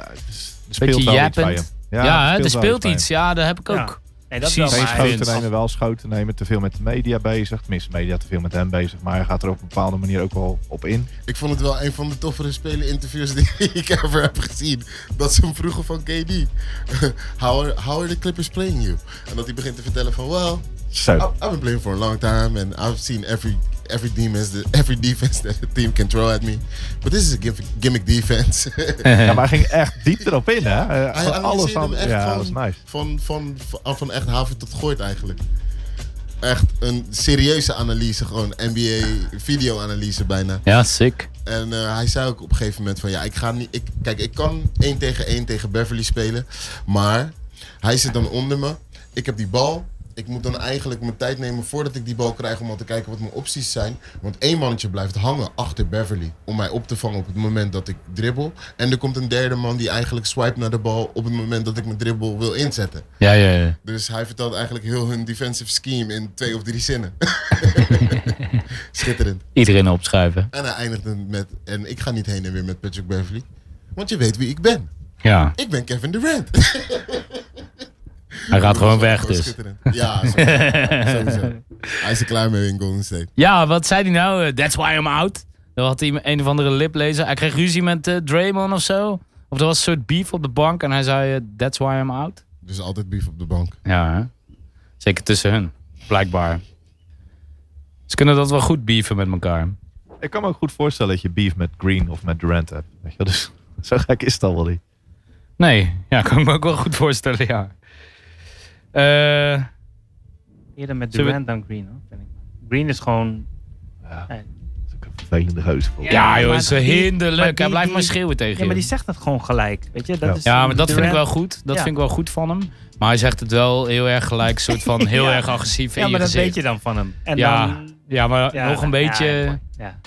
het is- er speelt Beetje wel iets jappend. bij hem. Ja, hè, er wel speelt bij iets. Ja, daar heb ik Ja. ook. Nee, Precies. wel, hem. Geen Maar hij schoten vindt- nemen, wel schoten nemen. Te veel met de media bezig. Tenminste, de media te veel met hem bezig. Maar hij gaat er op een bepaalde manier ook wel op in. Ik vond het wel een van de toffere spelen-interviews die ik ever heb gezien. Dat ze hem vroegen van KD. How are, how are the Clippers playing you? En dat hij begint te vertellen van, well, Zo. I've, I've been playing for a long time and I've seen every every defense that, every defense that the team can throw at me. But this is a gimmick, gimmick defense. Ja, maar hij ging echt diep erop in, hè? Eh, Hij alles analyseerde aan. hem echt Ja, van, dat was nice. van, van, van, van echt haven tot gooit eigenlijk. Echt een serieuze analyse, gewoon NBA video-analyse bijna. Ja, sick. En eh, hij zei ook op een gegeven moment van ja, ik ga niet. Ik, kijk, ik kan 1 tegen 1 tegen Beverly spelen. Maar hij zit dan onder me. Ik heb die bal. Ik moet dan eigenlijk mijn tijd nemen voordat ik die bal krijg om al te kijken wat mijn opties zijn. Want één mannetje blijft hangen achter Beverly om mij op te vangen op het moment dat ik dribbel. En er komt een derde man die eigenlijk swipe naar de bal op het moment dat ik mijn dribbel wil inzetten. Ja, ja, ja. Dus hij vertelt eigenlijk heel hun defensive scheme in twee of drie zinnen. Schitterend. Iedereen opschrijven. En hij eindigde met, en ik ga niet heen en weer met Patrick Beverly. Want je weet wie ik ben. Ja, Ik ben Kevin Durant. hij gaat gewoon weg Gewoon dus. schitterend. Ja, sowieso. Sowieso. Hij is er klaar mee in Golden State. Ja, wat zei hij nou? Eh, That's why I'm out. Dan had hij een of andere liplezer. Hij kreeg ruzie met eh, Draymond of zo. Of er was een soort beef op de bank en hij zei eh, That's why I'm out. Dus altijd beef op de bank. Ja, hè? zeker tussen hun. Blijkbaar. Ze kunnen dat wel goed beefen met elkaar. Ik kan me ook goed voorstellen dat je beef met Green of met Durant hebt. Weet je wel, Dus zo gek is het al wel niet. Nee, ja, kan ik me ook wel goed voorstellen, ja. Eh, Eerder met Zullen we- Durant dan Green. Hoor. vind ik. Green is gewoon... Ja. Nee. Dat is ook een vervelende gozer. voor. Ja, ja, joh, maar is eh, die- maar hinderlijk. die- Hij blijft maar die- schreeuwen tegen Ja, maar je. die zegt dat gewoon gelijk. Weet je? Dat Ja. Is, Ja, maar dat vind ik wel Durant- goed. Dat Ja. vind ik wel goed van hem. Maar hij zegt het wel heel erg gelijk, soort van heel Ja. erg agressief in Ja, je maar dat gezicht. weet je dan van hem. En Ja. dan... Ja, maar ja, nog een ja, beetje. Ja, ja,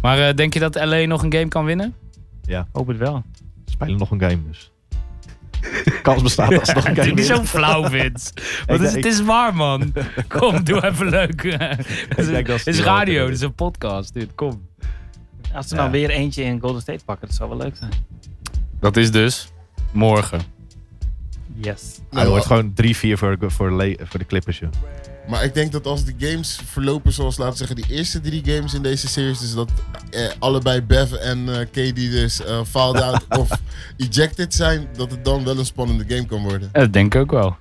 maar eh, denk je dat LA nog een game kan winnen? hoop het wel. Ze spelen nog een game dus. Kans bestaat dat ze nog een game Doe niet winnen. zo flauw, Vince. Want Ik het, denk- het is waar, man. Kom, doe even leuk. Het is, het is denk dat ze die wel kunnen radio, doen. het is een podcast. Dit, kom. Als ze Ja. nou weer eentje in Golden State pakken, dat zou wel leuk zijn. Dat is dus morgen. Yes. Hij wordt gewoon 3-4 voor, voor, Le- voor de Clippers. joh. Nou, Maar ik denk dat als de games verlopen zoals, laten we zeggen, die eerste drie games in deze series. Dus dat eh, allebei Bev en eh, KD dus eh fouled out of ejected zijn. Dat het dan wel een spannende game kan worden. Dat denk ik ook wel.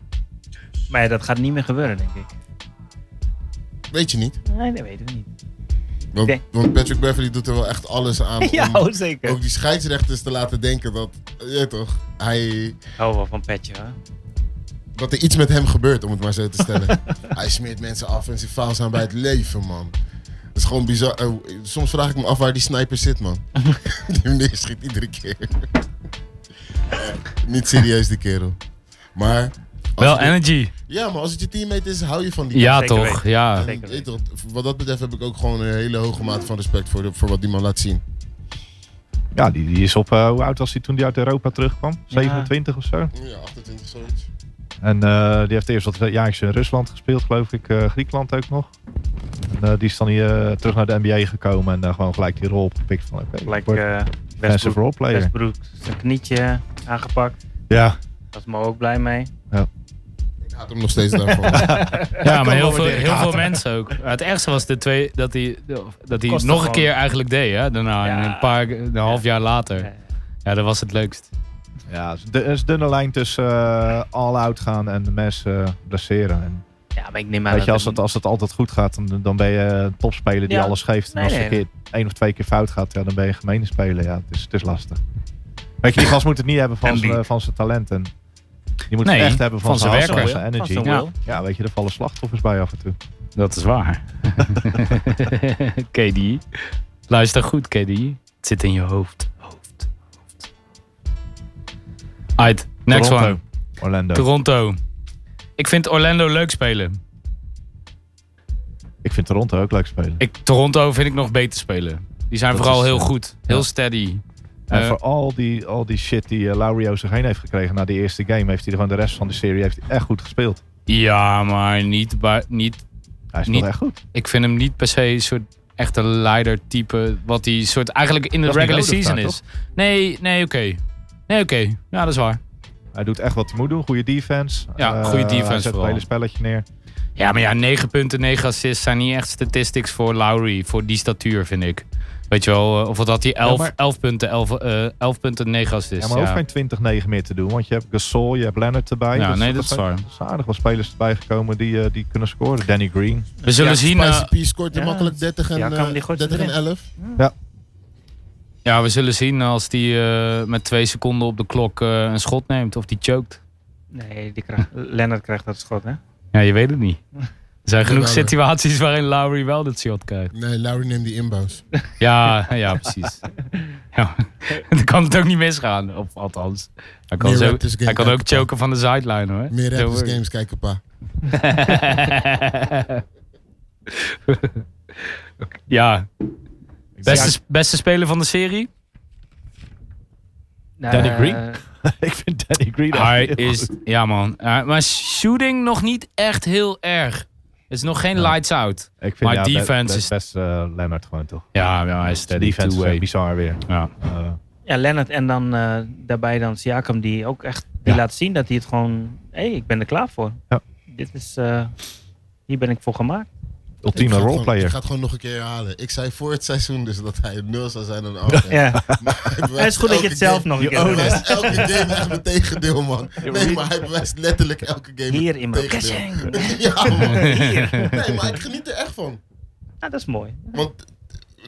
Maar ja, dat gaat niet meer gebeuren, denk ik. Weet je niet. Nee, dat weten we niet. Want, Nee. want Patrick Beverly doet er wel echt alles aan Ja, om oh, zeker. ook die scheidsrechters te laten denken dat, je weet toch, hij, Ik hou wel van Petje, hoor. dat er iets met hem gebeurt, om het maar zo te stellen. hij smeert mensen af en ze faals aan bij het leven, man. Dat is gewoon bizar. Eh, soms vraag ik me af waar die sniper zit, man. die meneer schiet iedere keer. Eh, Niet serieus, die kerel. Maar... als Wel het- energy. ja, maar als het je teammate is, hou je van die Ja, zeker toch? weten. Ja. Zeker Weet je toch, wat dat betreft heb ik ook gewoon een hele hoge mate van respect voor, de- voor wat die man laat zien. Ja, die, die is op... eh, hoe oud was hij toen hij uit Europa terugkwam? Ja. 27 of zo. Ja, 28 zoiets. En eh, die heeft eerst wat jaartjes in Rusland gespeeld, geloof ik. eh, Griekenland ook nog. En, eh, die is dan hier eh, terug naar de NBA gekomen. En eh, gewoon gelijk die rol opgepikt van... oké, Gelijk wordt eh defensive Westbrook, roleplayer. Westbrook zijn knietje aangepakt. Ja, Dat is me ook blij mee. Ik haat hem nog steeds daarvan. Ja, maar wel heel weer veel, tegen heel veel haten. mensen ook. Het ergste was de twee, dat hij dat hij Kostte nog een gewoon. keer eigenlijk deed. Hè? Daarna, Ja. een, paar, een half jaar later. Eh, Ja, dat was het leukst. ja het is een dun- het is een dunne lijn tussen eh, all-out gaan en de mensen eh, blesseren. En ja, maar ik neem aan Weet je, als hem- het, als het altijd goed gaat, dan, dan ben je een topspeler die Ja. alles geeft. En Nee, als het nee, een keer één of twee keer fout gaat, ja, dan ben je een gemene speler. Ja, het is, het is lastig. Weet je, die gast moet het niet hebben En van, die- zijn- van zijn talent. En die moet Nee, het echt hebben van, van zijn zijn hustle en werk. zijn Van energy. zijn Ja. will. ja, weet je, er vallen slachtoffers bij af en toe. Dat is waar. KD. E. Luister goed, KD. Het zit in je hoofd. Hoofd. hoofd. Alright, next Toronto. one. Orlando. Toronto. Ik vind Orlando leuk spelen. ik vind Toronto ook leuk spelen. Ik, Toronto vind ik nog beter spelen. Die zijn Dat vooral is, heel eh, goed. Heel ja. steady. en eh, voor al die, al die shit die eh, Laurio zich heen heeft gekregen na die eerste game, heeft hij gewoon de rest van de serie heeft hij echt goed gespeeld. Ja, maar niet, bij- niet Hij speelt Niet- echt goed. ik vind hem niet per se een soort echte leider type. Wat hij soort eigenlijk in de Dat is niet regular nodig season daar, is. Nee, nee, oké. Nee, oké. Ja, dat is waar. Hij doet echt wat hij moet doen. Goede defense. Ja, Eh, goede defense Hij zet vooral. het hele spelletje neer. Ja, maar ja, 9 punten, 9 assists zijn niet echt statistics voor Lowry. Voor die statuur, vind ik. Weet je wel, eh, of wat had hij? 11, Ja, maar- 11 punten, 11, eh 11 punten, 9 assists. ja, maar Dus ja. hoeft geen 20-9 meer te doen. Want je hebt Gasol, je hebt Leonard erbij. Ja, nee, er dat is zijn- waar. Er zijn aardig wat spelers erbij gekomen die, eh, die kunnen scoren. Danny Green. We zullen Ja, zien... eh, Spicy P scoort er Ja. makkelijk 30 en, Ja, kan hem eh, die gooien 30 en erin. 11. Ja, we zullen zien als die eh, met twee seconden op de klok eh, een schot neemt of die choked. Nee, die krijgt, Lennart krijgt dat schot, hè? Ja, je weet het niet. Er zijn genoeg Jawel, hoor. situaties waarin Lowry wel dat shot krijgt. Nee, Lowry neemt die inbounds. Ja, ja precies. Ja, dan kan het ook niet misgaan. Of althans, hij kan, Meer dus zo, Raptors game hij kan ook kijken, pa. choken van de sideline hoor. Meer dus Don't Raptors worry. games kijken, pa. ja, Ik denk- beste, s- beste speler van de serie. Nou, Danny eh, Green? ik vind Danny Green echt Hij heel is, goed. ja man. Eh, maar shooting nog niet echt heel erg. Het is nog geen Ja. lights out. Ik vind maar ja, be- defense be- is- best eh, Leonard gewoon toch. Ja, ja hij is De steady defense is two-way. echt bizar weer. Ja. Eh, Ja, Lennart en dan eh, daarbij dan Siakam, die ook echt die Ja. laat zien dat hij het gewoon... Hé, ik ben er klaar voor. Ja. Dit is... eh, hier ben ik voor gemaakt. ultieme Ik ga het gewoon- Ik roleplayer. ga het gewoon nog een keer herhalen. Ik zei voor het seizoen dus dat hij het nul zou zijn aan de offense. Ja, Maar hij bewijst het is goed dat je elke het zelf game- nog Oh, een You keer Hij own doet. bewijst elke game echt mijn tegendeel, man. Nee, maar hij bewijst letterlijk elke game Hier in mijn tegendeel. kaching. Ja, man. Hier. Nee, maar ik geniet er echt van. Nou, dat is mooi. Want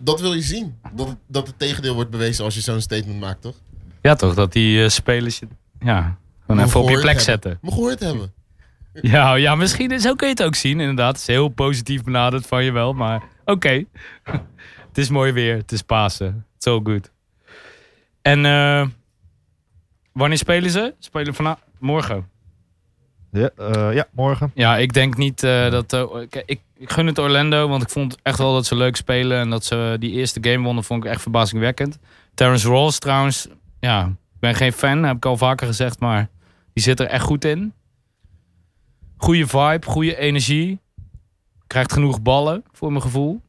dat wil je zien. Dat het, dat het tegendeel wordt bewezen als je zo'n statement maakt, toch? Ja, toch? Dat die eh, spelers je ja, gewoon Moet even op je gehoord plek hebben. zetten. Moet gehoord hebben. Ja, ja, misschien zo kun je het ook zien, inderdaad. Het is heel positief benaderd van je wel, maar oké. het is mooi weer, het is Pasen. It's all good. En eh, wanneer spelen ze? Spelen vanavond? Morgen. Ja, eh, ja, morgen. Ja, ik denk niet eh, dat... eh, ik, ik, ik gun het Orlando, want ik vond echt wel dat ze leuk spelen. En dat ze die eerste game wonnen, vond ik echt verbazingwekkend. Terrence Rawls trouwens, ja, ik ben geen fan, heb ik al vaker gezegd. Maar die zit er echt goed in. Goede vibe, goede energie. Krijgt genoeg ballen, voor mijn gevoel.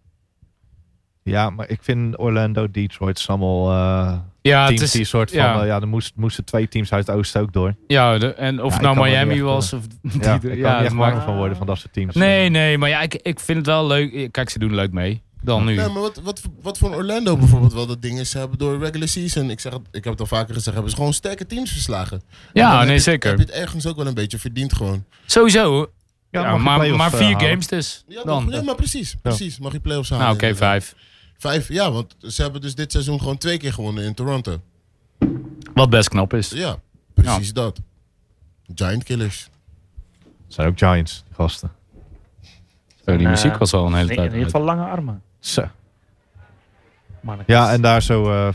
Ja, maar ik vind Orlando, Detroit, zijn allemaal eh, Ja, teams het is, die soort van... eh, ja. Ja, ja er moest, moesten twee teams uit het oosten ook door. ja de- en of Ja, het ik nou kan er niet Miami echt, eh, was of... Ja, ik die- kan ja, niet het echt maakt- warm van worden van dat soort teams. Nee, nee, maar ja, ik, ik vind het wel leuk. Kijk, ze doen leuk mee. Dan nu. Nee, maar wat, wat, wat voor Orlando bijvoorbeeld wel dat ding is, ze hebben door regular season, ik, zeg het, ik heb het al vaker gezegd, hebben ze gewoon sterke teams verslagen. En dan Ja, heb nee, je- Heb zeker. je het ergens ook wel een beetje verdiend gewoon. Sowieso. Ja, Ja, mag je maar, play-offs, maar eh, vier halen. games dus. Ja, dan. toch? ja maar precies. Precies. Mag je play-offs halen. nou, oké, inderdaad. vijf. Vijf, ja, want ze hebben dus dit seizoen gewoon twee keer gewonnen in Toronto. Wat best knap is. Ja, precies dat. Giant Killers. Het zijn ook Giants, die gasten. Oh, die Eh, muziek was al een hele In tijd. in uit. ieder geval lange armen. Zo. mannetjes. Ja, en daar zo... eh,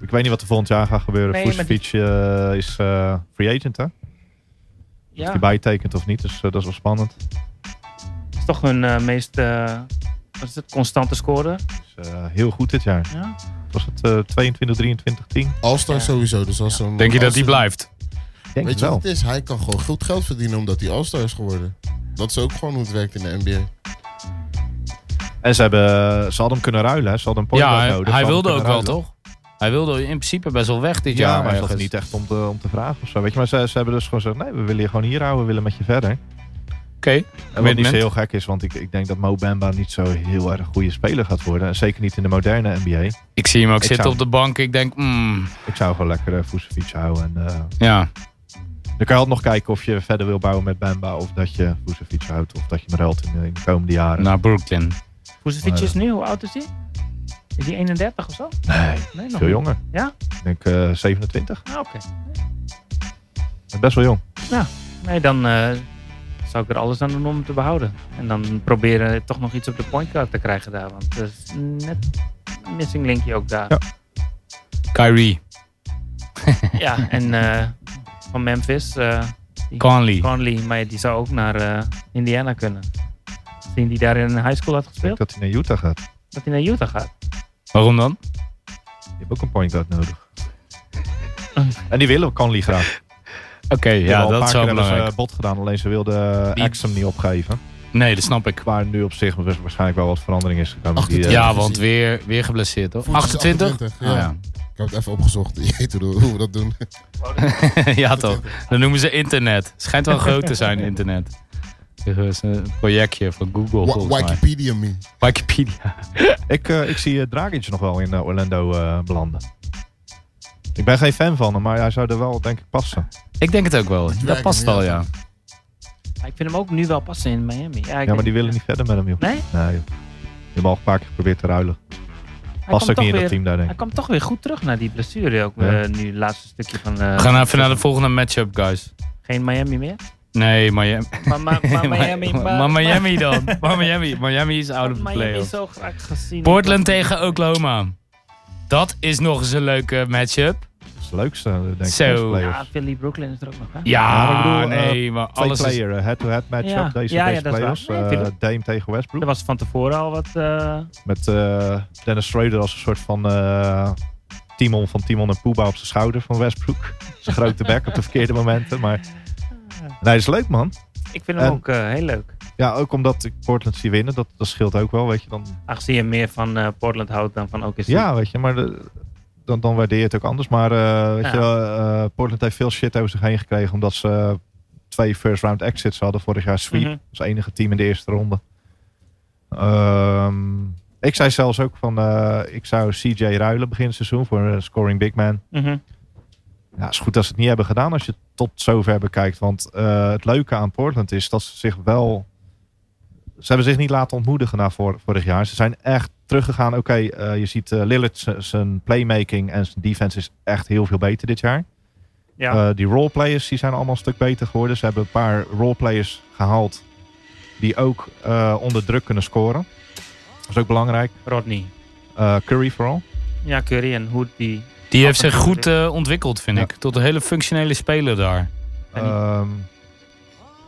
ik weet niet wat er volgend jaar gaat gebeuren. Nee, Nee, maar is eh, free agent, hè? Ja, Of die bijtekent of niet, dus eh, dat is wel spannend. dat is toch hun eh, meest eh, wat is het, constante score. Dus, eh, heel goed dit jaar. Ja. Was het eh 22, 23, 10? All-Star Ja. sowieso. Dus als een, Denk je dat als die een- blijft? Denk Weet het je wel. wat het is? Hij kan gewoon goed geld verdienen omdat hij All-Star is geworden. Dat is ook gewoon hoe het werkt in de NBA. En ze, hebben, eh, ze hadden hem kunnen ruilen, hè? ze hadden een point Ja, guard hij, nodig. Ze hij hadden wilde hem ook kunnen wel, ruilen. toch? Hij wilde in principe best wel weg dit Ja, jaar. maar ze ergens. hadden niet echt om te, om te vragen of zo. Weet je, maar ze, ze hebben dus gewoon gezegd, nee, we willen je gewoon hier houden, we willen met je verder. Oké. En wat niet zo Commitment. heel gek is, want ik, ik denk dat Mo Bamba niet zo heel erg goede speler gaat worden. En zeker niet in de moderne NBA. Ik zie hem ook Ik zitten zou- op de bank. Ik denk, mm, Ik zou gewoon lekker uh, Vucevic houden. En, eh, ja. dan kan je altijd nog kijken of je verder wil bouwen met Bamba. Of dat je Vucevic houdt, of dat je hem ruilt in, de- in de komende jaren. naar Brooklyn. Vucevic Maar, is nu, hoe oud is hij? Is hij 31 of zo? nee, Nee, nog veel niet. jonger. Ja? Ik denk eh 27. Ah, oké. Best wel jong. Nee, dan eh, zou ik er alles aan doen om het te behouden. En dan proberen toch nog iets op de pointcard te krijgen daar. Want er is net een missing linkje ook daar. Ja. Kyrie, Ja, en eh, van Memphis, eh, Conley. Conley, maar ja, die zou ook naar eh, Indiana kunnen. Zien die daar in een high school had denk gespeeld, dat hij naar Utah gaat. Je dat hij naar Utah gaat. Waarom dan? hebt ook een point guard nodig. en die willen Conley graag. Oké, ja, Terwijl een dat paar is keer wel hebben ze belangrijk. eh, bot gedaan, alleen ze wilden eh, Die- Axum niet opgeven. Nee, dat snap ik. Waar nu op zich dus waarschijnlijk wel wat verandering is gekomen. Die, eh, Ja, Ja, precies. want weer, weer geblesseerd, toch? Voetjes 28? 28, Ah, ja. Ik heb het even opgezocht. Je weet hoe, hoe we dat doen. ja. ja, toch. Dat noemen ze internet. Schijnt wel groot te zijn, internet. Dat is een projectje van Google, Wa- volgens mij. Wikipedia me. Wikipedia. Ik, eh, ik zie eh, Dragic nog wel in eh, Orlando eh, belanden. Ik ben geen fan van hem, maar hij zou er wel denk ik passen. Ik denk het ook wel. Dat Dragon, past ja. al, ja. Maar ik vind hem ook nu wel passen in Miami. Ja, ik Ja, maar denk- die willen niet verder met hem, joh. eh, Nee? Nee, joh. Die hebben al een paar keer geprobeerd te ruilen. Hij Past komt ook toch niet in dat weer- team daar, denk ik. Hij kwam toch weer goed terug naar die blessure ook. Ja. eh, nu het laatste stukje van... eh, We gaan even naar de volgende matchup, guys. Geen Miami meer. Nee, Miami. Maar, maar, maar Miami... Maar, Miami dan. Maar Miami. Miami is out of the Miami playoff. zo graag gezien. Portland tegen Oklahoma. Dat is nog eens een leuke matchup. Dat is het leukste, eh, denk ik. Zo. Zo. Playoffs. Ja, Philly Brooklyn is er ook nog, hè? Ja, Ja, maar ik bedoel, nee, maar Twee alles is... player, eh, head-to-head matchup Ja. deze, Ja, ja, deze dat is waar. playoffs. Nee, Eh, tuurlijk. Dame tegen Westbrook. Er was van tevoren al wat... eh, Met eh, Dennis Schroeder als een soort van eh, Timon van Timon en Puba op zijn schouder van Westbrook. Zijn grote bek op de verkeerde momenten. Maar Ah. nee, dat is leuk man. ik vind hem En- ook eh, heel leuk. Ja, ook omdat ik Portland zie winnen. Dat, dat scheelt ook wel, weet je. Dan, Aangezien je meer van eh, Portland houdt dan van OKC. ja, weet je, maar de- dan, dan waardeer je het ook anders. Maar eh, weet Ja. je, wel, eh, Portland heeft veel shit over zich heen gekregen. Omdat ze eh, twee first round exits hadden vorig jaar sweep. Mhm. Als enige team in de eerste ronde. Ehm, ik zei zelfs ook van, eh, ik zou CJ ruilen begin seizoen voor een scoring big man. Mhm. Ja, Nou, is goed dat ze het niet hebben gedaan als je het tot zover bekijkt. Want eh, het leuke aan Portland is dat ze zich wel... Ze hebben zich niet laten ontmoedigen na vor- vorig jaar. Ze zijn echt teruggegaan. Oké, eh, je ziet eh, Lillard z- zijn playmaking en zijn defense is echt heel veel beter dit jaar. Ja. Eh, die roleplayers die zijn allemaal een stuk beter geworden. Ze hebben een paar roleplayers gehaald die ook eh, onder druk kunnen scoren. Dat is ook belangrijk. Rodney. Eh, Curry vooral. Ja, Curry en Hood die... Die heeft zich goed eh, ontwikkeld, vind Ja. ik. Tot een hele functionele speler daar. En die- Ehm,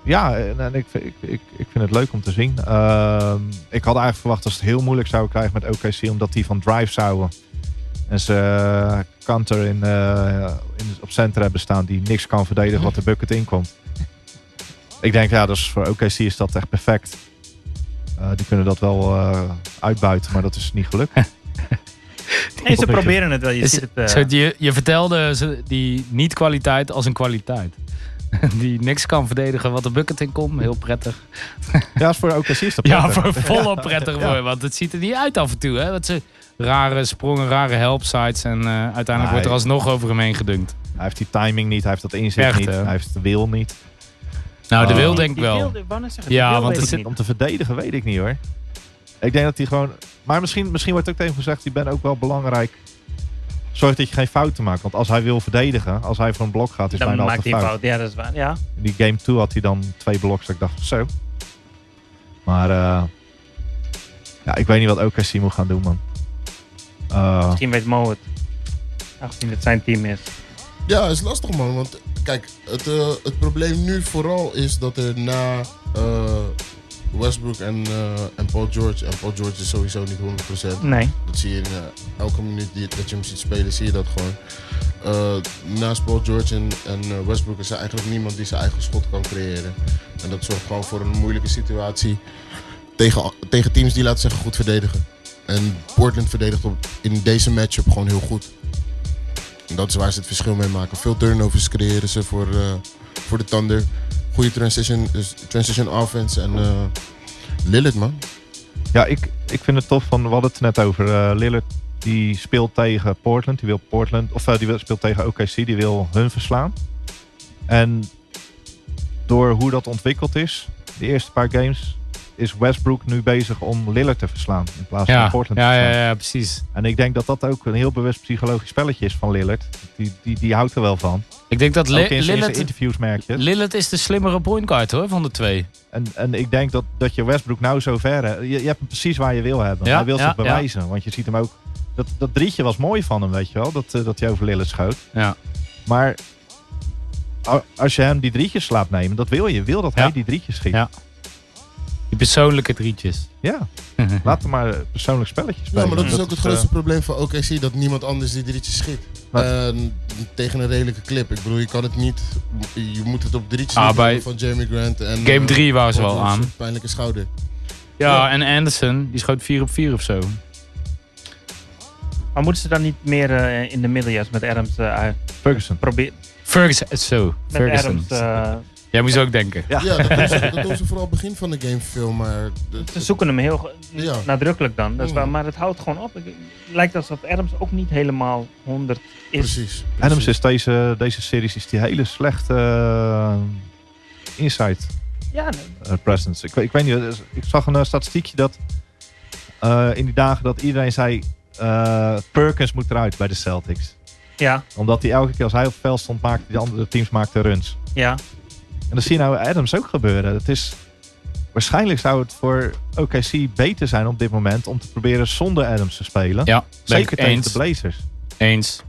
ja, en, en ik, ik, ik, ik vind het leuk om te zien. Ehm, ik had eigenlijk verwacht dat ze het heel moeilijk zouden krijgen met OKC, omdat die van drive zouden. En ze eh, Kanter in, eh, in, op center hebben staan die niks kan verdedigen wat de bucket inkomt. Ik denk, ja, dus voor OKC is dat echt perfect. Eh, die kunnen dat wel eh, uitbuiten, maar dat is niet gelukt. Nee, ze proberen het wel. Je Is- ziet het... eh, Zo, je, je vertelde ze die niet-kwaliteit als een kwaliteit. Die niks kan verdedigen wat de bucket in komt. Heel prettig. Ja, is voor OKC is dat Ja, prettig. voor volop prettig mooi. Want het ziet er niet uit af en toe. Hè? Dat ze rare sprongen, rare helpsites. En eh, uiteindelijk wordt er Nee. alsnog over hem heen gedunkt. Hij heeft die timing niet, hij heeft dat inzicht Echt, niet, hè? hij heeft de wil niet. Nou, de Oh. wil denk ik die wel. wilde- ik wou net zeggen, die Ja, wilde want ik het niet. zit- Om te verdedigen weet ik niet hoor. Ik denk dat hij gewoon. Maar misschien, misschien wordt ook tegen hem gezegd: je bent ook wel belangrijk. Zorg dat je geen fouten maakt. Want als hij wil verdedigen, als hij voor een blok gaat, is Dan bijna altijd fout. maakt hij fout. Ja, dat is waar. Ja. In die game 2 had hij dan twee bloks. Dat ik dacht, zo. Maar eh, ja, ik weet niet wat OKC moet gaan doen, man. Eh, Misschien weet Mo het. Aangezien het zijn team is. Ja, is lastig man. Want kijk, het, eh, het probleem nu vooral is dat er na eh, Westbrook en, eh, en Paul George. En Paul George is sowieso niet 100%. Nee. Dat zie je in eh, elke minuut die, dat je hem ziet spelen, zie je dat gewoon. Eh, naast Paul George en, en eh, Westbrook is er eigenlijk niemand die zijn eigen schot kan creëren. En dat zorgt gewoon voor een moeilijke situatie tegen, tegen teams die, laten we zeggen, goed verdedigen. En Portland verdedigt op, in deze matchup gewoon heel goed. En dat is waar ze het verschil mee maken. Veel turnovers creëren ze voor, eh, voor de Thunder. Goede transition, dus transition offense en eh Lilith, man. Ja, ik, ik vind het tof van, we hadden het er net over. eh, Lillard die speelt tegen Portland, die wil Portland, of eh, die wil- speelt tegen OKC, die wil hun verslaan. En door hoe dat ontwikkeld is, de eerste paar games, is Westbrook nu bezig om Lillard te verslaan in plaats van Ja, Portland dus, ja, te verslaan. ja, ja, precies. En ik denk dat dat ook een heel bewust psychologisch spelletje is van Lillard. Die, die, die houdt er wel van. Ik denk dat ook Li- in zijn- in zijn Lillard, interviews merk je het. Lillard is de slimmere pointguard hoor, van de twee. En, en ik denk dat, dat je Westbrook nou zo ver... hè, Je, je hebt hem precies waar je wil hebben. Ja, hij wil ja, zich ja. bewijzen. Want je ziet hem ook... Dat, dat drietje was mooi van hem, weet je wel. Dat, eh, dat hij over Lillard schoot. Ja. Maar a- als je hem die drietjes slaat nemen... Dat wil je. Je wil dat Ja. hij die drietjes schiet. Ja. Ja. Die persoonlijke drietjes. Laat hem maar eh, persoonlijk spelletjes Ja, maar dat is ook het het grootste probleem van OKC, dat niemand anders die drietjes schiet. eh, Wat? Eh, tegen een redelijke clip. Ik bedoel, je kan het niet, je moet het op drietjes Ah, niet bij hebben van Jeremy Grant. En, Game eh, 3 wou ze Paul wel George, aan. een Pijnlijke schouder. Ja, en Anderson, die schoot 4 op 4 of zo. Maar moeten ze dan niet meer eh, in de middeljas met Adams eh, uit- Ferguson. probeer Ferguson, eh, zo. met Ferguson. Adams, eh, Jij moest ook denken. Ja. Ja, dat doen, ze, dat doen ze vooral begin van de game veel, maar... dat- ze zoeken hem heel ge- Ja. nadrukkelijk dan. Dat is Mm. waar, maar het houdt gewoon op. Ik- Het lijkt alsof Adams ook niet helemaal 100 is. Precies. Adams precies. is deze, deze series is die hele slechte eh, inside Ja, nee. eh, presence. Ik, weet- ik weet niet, eh, ik zag een eh, statistiekje dat eh, in die dagen dat iedereen zei eh, Perkins moet eruit bij de Celtics. ja, Omdat hij elke keer als hij op het veld stond maakte, die andere teams maakten runs. ja. En dat zie je nou bij Adams ook gebeuren. Het is, waarschijnlijk zou het voor OKC beter zijn op dit moment om te proberen zonder Adams te spelen. Ja, ben Zeker ik tegen de eens. Blazers. Eens.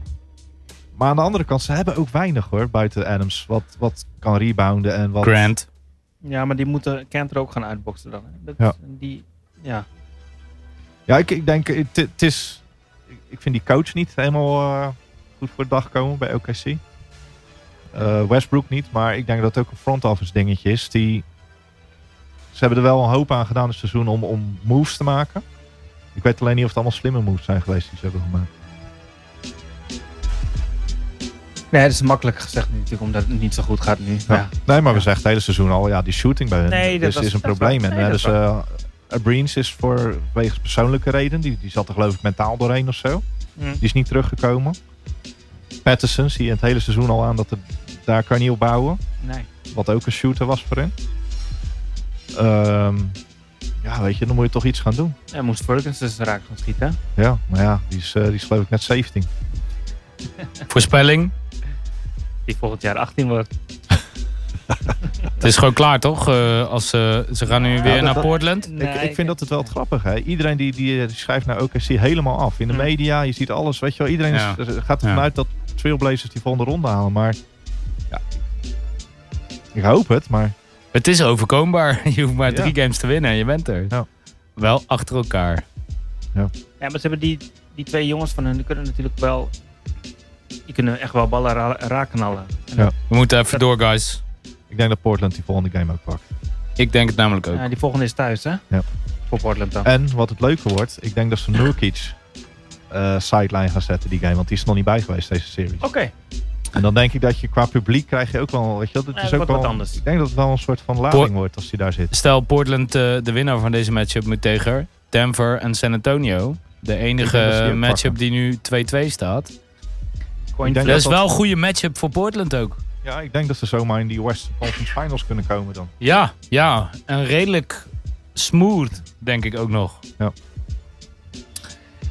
Maar aan de andere kant, ze hebben ook weinig hoor, buiten Adams. Wat, wat kan rebounden en wat... Grant. ja, maar die moeten Kenter ook gaan uitboksen dan. Hè. Dat, Ja. Die, ja. Ja, ik, ik denk, het het is... ik- Ik vind die coach niet helemaal eh, goed voor de dag komen bij OKC. Eh, Westbrook niet, maar ik denk dat het ook een front office dingetje is. Die, ze hebben er wel een hoop aan gedaan dit seizoen om, om moves te maken. Ik weet alleen niet of het allemaal slimme moves zijn geweest die ze hebben gemaakt. Nee, dat is makkelijk gezegd natuurlijk, omdat het niet zo goed gaat nu. Ja. Ja. Nee, maar we Ja. zeggen het hele seizoen al, ja, die shooting bij hun Nee, dat dus was- is een dat is probleem. waar. En Nee, eh, dat is dus eh Breens is voor wegens persoonlijke reden, die, die zat er geloof ik mentaal doorheen of zo. Mm. Die is niet teruggekomen. Patterson zie je het hele seizoen al aan dat er, daar kan je niet op bouwen. Nee. Wat ook een shooter was voor hen. Ehm, ja, weet je, dan moet je toch iets gaan doen. Hij moest Ferguson dus raak gaan schieten. hè. Ja, maar ja, die is, eh, die is geloof ik net 17. Voorspelling. Die volgend jaar 18 wordt. Het is gewoon klaar toch? Eh, als, ze ze gaan nu Ja, weer dat- naar dat- Portland. Nee, ik, ik vind dat het wel ja. het grappige. Hè? Iedereen die, die, eh, die schrijft naar OKC helemaal af. In de Hmm. media, je ziet alles. Weet je wel, iedereen is- Ja. er gaat ervan Ja. uit dat Trailblazers die volgende ronde halen. Maar ja, ik hoop het. Maar Het is overkombaar. Je hoeft maar Ja. drie games te winnen en je bent er. Ja. Wel achter elkaar. Ja, maar ze hebben die, die twee jongens van hun, die kunnen natuurlijk wel... Die kunnen echt wel ballen ra raakknallen. En Ja. We moeten even door, guys. ik denk dat Portland die volgende game ook pakt. Ik denk het namelijk ook. Ja, die volgende is thuis, hè? Ja. Eh. Voor Portland dan. En wat het leuke wordt, ik denk dat ze Nurkic eh, sideline gaan zetten die game. Want die is er nog niet bij geweest deze serie. Oké. En dan denk ik dat je qua publiek krijg je ook wel... Weet je, wel, dat Ja, is dat ook wordt wat wel- anders. Ik denk dat het wel een soort van Por- lading wordt als die daar zit. Stel Portland eh, de winnaar van deze matchup moet tegen Denver en San Antonio. De Ik denk dat ze die enige ook matchup die nu 2-2 staat. Coin Ik denk Dat flip. is dat- wel een goede matchup voor Portland ook. Ja, ik denk dat ze zomaar in die Western Conference Finals kunnen komen dan. Ja, ja. En redelijk smooth, denk ik ook nog.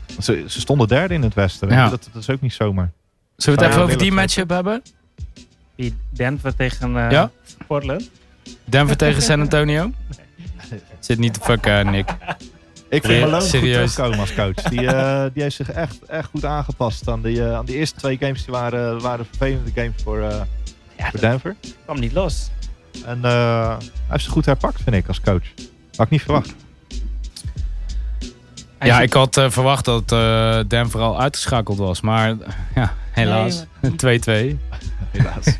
Want Ze, ze stonden derde in het Westen. weet Ja. je. Dat, dat is ook niet zomaar. Zullen we Ja, het even over Lillard die ook. matchup hebben? Die Denver tegen eh, Ja? Portland. Denver tegen San Antonio? Zit niet te fucken, eh, Nick. Ik Nee, vind Malone serieus. goed terugkomen als coach. Die, eh, die heeft zich echt, echt goed aangepast aan die, eh, aan die eerste twee games. Die waren, waren vervelende games voor, eh, Ja, voor dat Denver. kwam niet los. En eh, hij heeft ze goed herpakt, vind ik, als coach. Had ik niet verwacht. Hij Ja, zit- ik had eh, verwacht dat eh, Denver al uitgeschakeld was. Maar ja, helaas. Nee, maar- 2-2. Helaas.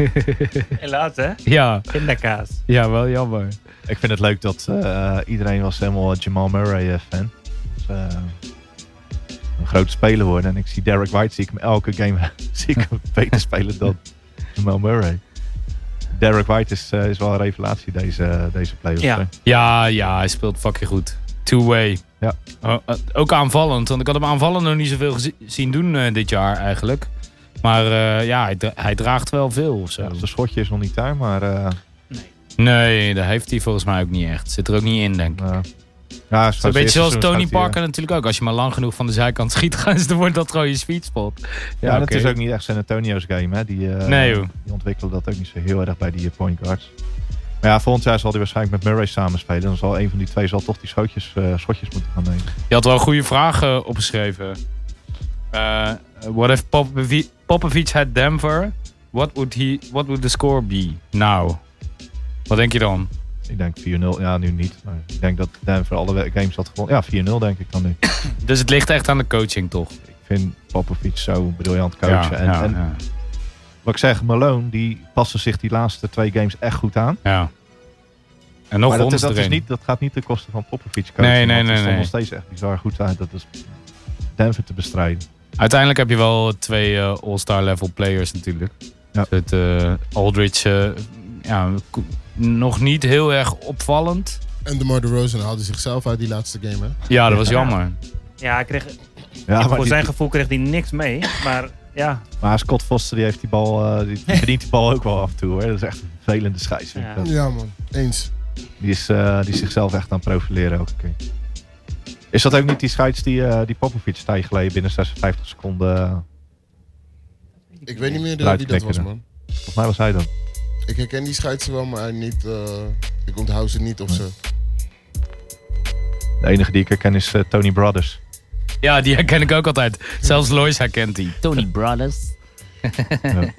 Helaas, hè? Ja, Pindakaas. ja, wel jammer. ik vind het leuk dat eh, iedereen was helemaal Jamal Murray-fan. Dus, eh, een grote speler worden. En ik zie Derek White, zie ik hem elke game zie ik hem beter spelen dan Jamal Murray. Derek White is, eh, is wel een revelatie deze, deze playoffs. Ja. hè. Ja, ja, hij speelt fucking goed. Two-way. Ja. Oh, eh, ook aanvallend, want ik had hem aanvallend nog niet zoveel gezi- zien doen eh, dit jaar eigenlijk. Maar eh, ja, hij, dra- hij draagt wel veel of zo. Ja, zijn schotje is nog niet daar, maar eh, Nee. Nee, dat heeft hij volgens mij ook niet echt. Zit er ook niet in, denk ik. Ja. Ja, Het is een beetje zoals eh, Tony Parker natuurlijk ook. Als je maar lang genoeg van de zijkant schiet, gaan ze- dan wordt dat gewoon je sweet spot. Ja, Ja, dat oké. is ook niet echt San Antonio's game. Hè? Die, eh, Nee, joh. die ontwikkelen dat ook niet zo heel erg bij die eh, point guards. Maar ja, volgend jaar zal hij waarschijnlijk met Murray samen spelen. Dan zal een van die twee zal toch die schotjes, eh, schotjes moeten gaan nemen. Je had wel een goede vragen opgeschreven. Eh, what if Popovi- Popovic had Denver? What would, he, what would the score be now? Wat denk je dan? Ik denk 4-0. Ja, nu niet. Maar ik denk dat Denver alle we- games had gewonnen. Ja, 4-0 denk ik dan nu. Dus het ligt echt aan de coaching, toch? ik vind Popovic zo briljant coachen. ja, en, ja, en ja, wat ik zeg, Malone, die passen zich die laatste twee games echt goed aan. ja. En nog maar dat, is- ons dat, is erin. niet, dat gaat niet ten koste van Popovic coachen. Nee, nee, nee, want die stond nee. nog steeds echt bizar goed uit. Dat is Denver te bestrijden. Uiteindelijk heb je wel twee eh, all-star level players natuurlijk. Ja. Het eh, Aldridge, eh, ja, ko- nog niet heel erg opvallend. En DeMar DeRozan haalde zichzelf uit die laatste game, hè? Ja, dat was Ja. jammer. Ja, hij kreeg, Ja, maar, voor die- zijn gevoel kreeg hij niks mee. Maar ja, maar Scott Foster die heeft die bal, eh, die die verdient die bal ook wel af en toe. Hoor. Dat is echt een vervelende scheidsrechter. Ja. Ja, man. Eens. Die, is, eh, die is zichzelf echt aan het profileren elke keer. Is dat ook niet die scheids die, eh, die Popovic een tijdje geleden binnen 56 seconden... eh, Ik weet niet meer eh, wie dat Luidkrekker. was, man. volgens mij was hij dat. Ik herken die scheidsen wel, maar niet, eh, ik onthoud ze niet of Nee. zo. De enige die ik herken is eh, Tony Brothers. Ja, die herken ik ook altijd. Zelfs Lois herkent die. Tony Brothers. Ja.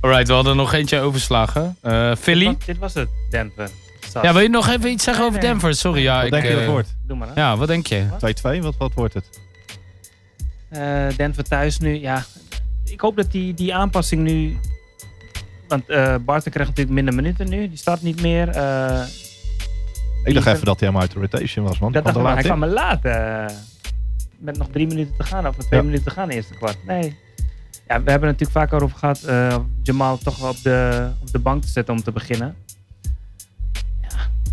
Alright, we hadden nog eentje overslagen. Eh Philly. Dit, was het, Denver. Sas. Ja, wil je nog even iets zeggen over Nee, nee. Denver? Sorry, ja. Wat ik, denk je dat eh, het wordt? Doe maar aan. Ja, wat denk je? 2-2, wat, wat wordt het? Eh, Denver thuis nu, ja. Ik hoop dat die, die aanpassing nu... Want eh Barton krijgt natuurlijk minder minuten nu. Die start niet meer. eh, Ik dacht Wie- even dat hij helemaal uit de rotation was, man. dat dacht ik, maar hij laat kwam er laat. eh, met nog drie minuten te gaan. Of met twee Ja. minuten te gaan in het eerste kwart. Nee. Ja, we hebben het natuurlijk vaak over gehad. eh, Jamal toch wel op de, op de bank te zetten om te beginnen. Ja,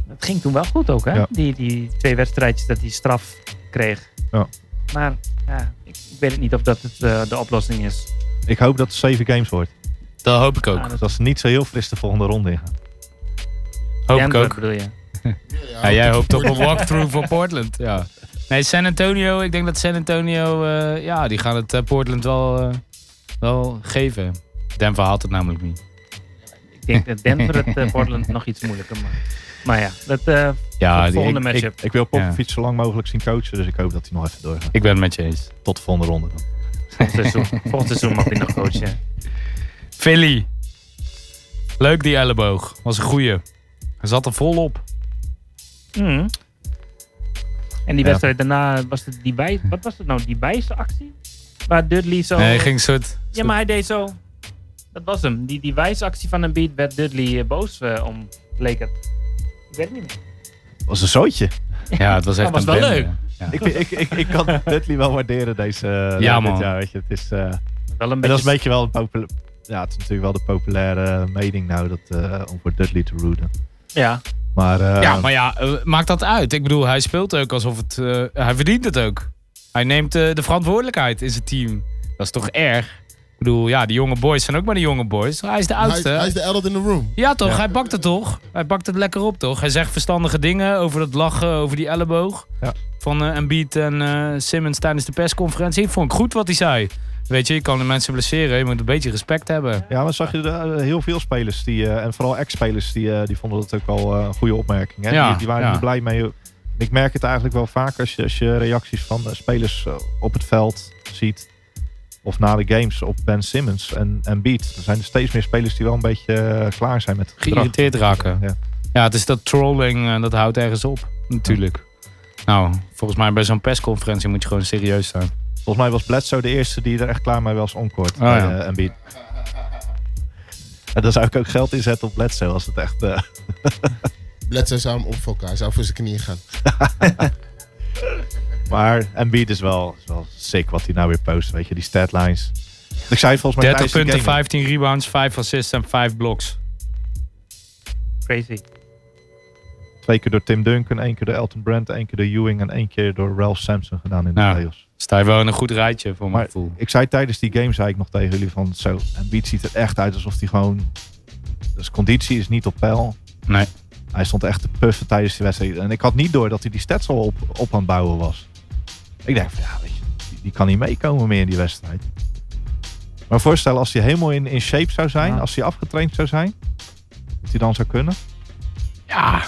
dat ging toen wel goed ook, hè? Ja. Die, die twee wedstrijdjes dat hij straf kreeg. Ja. Maar ja, ik, ik weet het niet of dat het, eh, de oplossing is. in. Ik hoop dat het 7 games wordt. Dat hoop ik ook. Ah, dat- Dus dat ze niet zo heel fris de volgende ronde ingaan. hoop ik Denver ook. bedoel je. Oh. Ja, jij hoopt op toch een walkthrough voor Portland. Ja. Nee, San Antonio. Ik denk dat San Antonio... eh, ja, die gaan het eh, Portland wel, eh, wel geven. Denver haalt het namelijk niet. Ik denk dat Denver het eh, Portland nog iets moeilijker maakt. Maar ja, dat, eh, Ja, Tot die- volgende ik, matchup. Ik, ik wil Popovic zo lang mogelijk zien coachen, dus ik hoop dat hij nog even doorgaat. ik ben het met je eens. Tot de volgende ronde dan. volgend seizoen, volgend seizoen mag hij nog coachen. Philly. Leuk die elleboog. Was een goeie. Hij zat er vol op. Oh. Mm. En Ja. die wedstrijd daarna was het die bij, wat was het nou, die bijste actie? Waar Dudley zo. Nee, hij ging een soort... ja, maar hij deed zo. Dat was hem. Die, die wijze actie van een beat werd Dudley eh, boos eh, om, leek het. Ik weet het niet meer. was een zootje. Ja, het was echt was een wel bende. leuk. Ja. ik, ik, ik, ik kan Dudley wel waarderen deze Ja, dit man. jaar. Weet je. Het is, eh, Wel een en dat is beetje. een beetje wel een populair... Ja, het is natuurlijk wel de populaire mening nou dat, eh, om voor Dudley te rooten. Ja, Maar, eh, Ja, maar ja, eh, maakt dat uit? Ik bedoel, hij speelt ook alsof het... eh, hij verdient het ook. Hij neemt eh, de verantwoordelijkheid in zijn team. Dat is toch erg? Ik bedoel, ja, die jonge boys zijn ook maar de jonge boys. Hij is de Hij, is- oudste. hij is de elder in the room. Ja toch, hij pakt het toch? Hij pakt het lekker op toch? Hij zegt verstandige dingen over dat lachen, over die elleboog. Ja. Van eh Embiid en eh, Simmons tijdens de persconferentie. Ik vond het goed wat hij zei. Weet je, je kan de mensen blesseren. Je moet een beetje respect hebben. Ja, maar zag je daar eh, heel veel spelers die, eh, en vooral ex-spelers, die, eh, die vonden dat ook wel eh, een goede opmerking. Hè? Ja, die, die waren ja. er blij mee. En Ik merk het eigenlijk wel vaak als je, als je reacties van eh, spelers eh, op het veld ziet. Of na de games op Ben Simmons en, en Beat. Er zijn er steeds meer spelers die wel een beetje eh, klaar zijn met het gedrag. Geïrriteerd raken. Ja. Ja, het is dat trolling, eh, dat houdt ergens op. Natuurlijk. Nou, volgens mij bij zo'n persconferentie moet je gewoon serieus zijn. Volgens mij was Bledsoe de eerste die er echt klaar mee was onkort. Ah, bij, ja. eh, Embiid. En daar zou ik ook geld inzetten op Bledsoe als het echt... eh, Bledsoe zou hem opfokken. Hij zou voor zijn knieën gaan. Maar Embiid is wel, is wel sick wat hij nou weer post, weet je, die statlines. Ik zei het volgens mij 30 tijdens punten, de game 15 rebounds, 5 assists en 5 bloks. crazy. al. Twee keer door Tim Duncan, één keer door Elton Brand, één keer door Ewing en één keer door Ralph Sampson gedaan in de Nou. playoffs. Sta je wel in een goed rijtje voor mijn Maar gevoel. ik zei tijdens die game, zei ik nog tegen jullie van zo, Embiid ziet er echt uit alsof hij gewoon, dus conditie is niet op peil. Nee. Hij stond echt te puffen tijdens de wedstrijd. En ik had niet door dat hij die stats al op, op aan het bouwen was. Ik dacht, van, ja, weet je, die, die kan niet meekomen meer in die wedstrijd. Maar voorstel als hij helemaal in, in shape zou zijn, Ja. als hij afgetraind zou zijn, dat hij dan zou kunnen. Ja.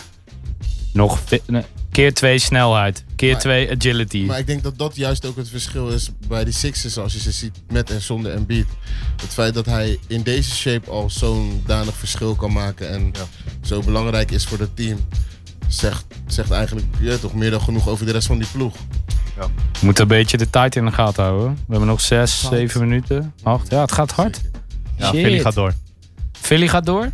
Nog fi- nee. keer twee snelheid. Keer Maar- twee agility. Maar ik denk dat dat juist ook het verschil is bij die Sixers als je ze ziet met en zonder Embiid. Het feit dat hij in deze shape al zo'n danig verschil kan maken en zo belangrijk is voor het team. Zegt, zegt eigenlijk ja, toch meer dan genoeg over de rest van die ploeg. We moeten een beetje de tijd in de gaten houden. We hebben nog zes, Acht. zeven minuten. Acht. Ja, het gaat hard. Zeker. Ja, Shit. Philly gaat door. Philly gaat door.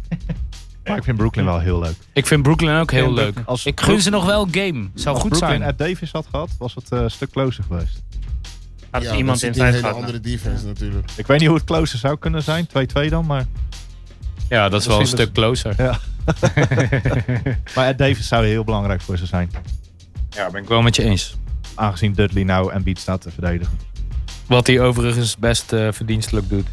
Maar ik vind Brooklyn wel heel leuk. Ik vind Brooklyn ook heel Ja, leuk. Brooklyn. Als Ik gun ze nog wel een game. Zou als goed Brooklyn zijn. Ed Davis had gehad, was het eh, een stuk closer geweest. Als Ja, iemand dan in zit hij zijn een hele gaat. andere defense natuurlijk. Ik weet niet hoe het closer zou kunnen zijn. 2-2 dan, maar... Ja, dat is wel een Misschien stuk closer. Ja. maar Ed Davis zou heel belangrijk voor ze zijn. Ja, ben ik wel met je eens. Aangezien Dudley nou en Beat staat te verdedigen. Wat hij overigens best eh, verdienstelijk doet.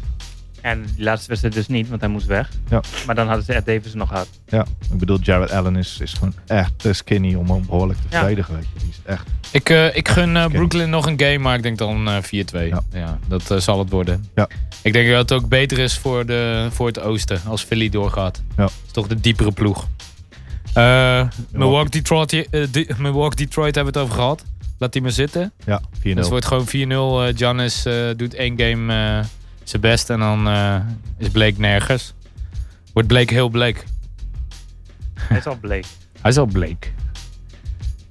En die laatste wedstrijd dus niet, want hij moest weg. Ja. Maar dan hadden ze Ed Davis nog gehad. Ja, ik bedoel, Jared Allen is, is gewoon echt te skinny om hem behoorlijk te Ja. verdedigen. Weet je. Die is echt. Ik, eh, ik gun eh, Oké. Brooklyn nog een game, maar ik denk dan eh, 4-2. Ja. Ja. dat eh, zal het worden. Ja. Ik denk dat het ook beter is voor, de, voor het oosten als Philly doorgaat. Ja. Dat is toch de diepere ploeg. Eh, Milwaukee, Detroit, eh, De- Milwaukee Detroit hebben we het over gehad. Laat die maar zitten. Ja, 4-0. Dus het wordt gewoon 4-0. Eh, Giannis eh, doet één game eh, zijn best en dan eh, is Blake nergens. Wordt Blake heel bleek. Hij is al bleek. Hij is al bleek.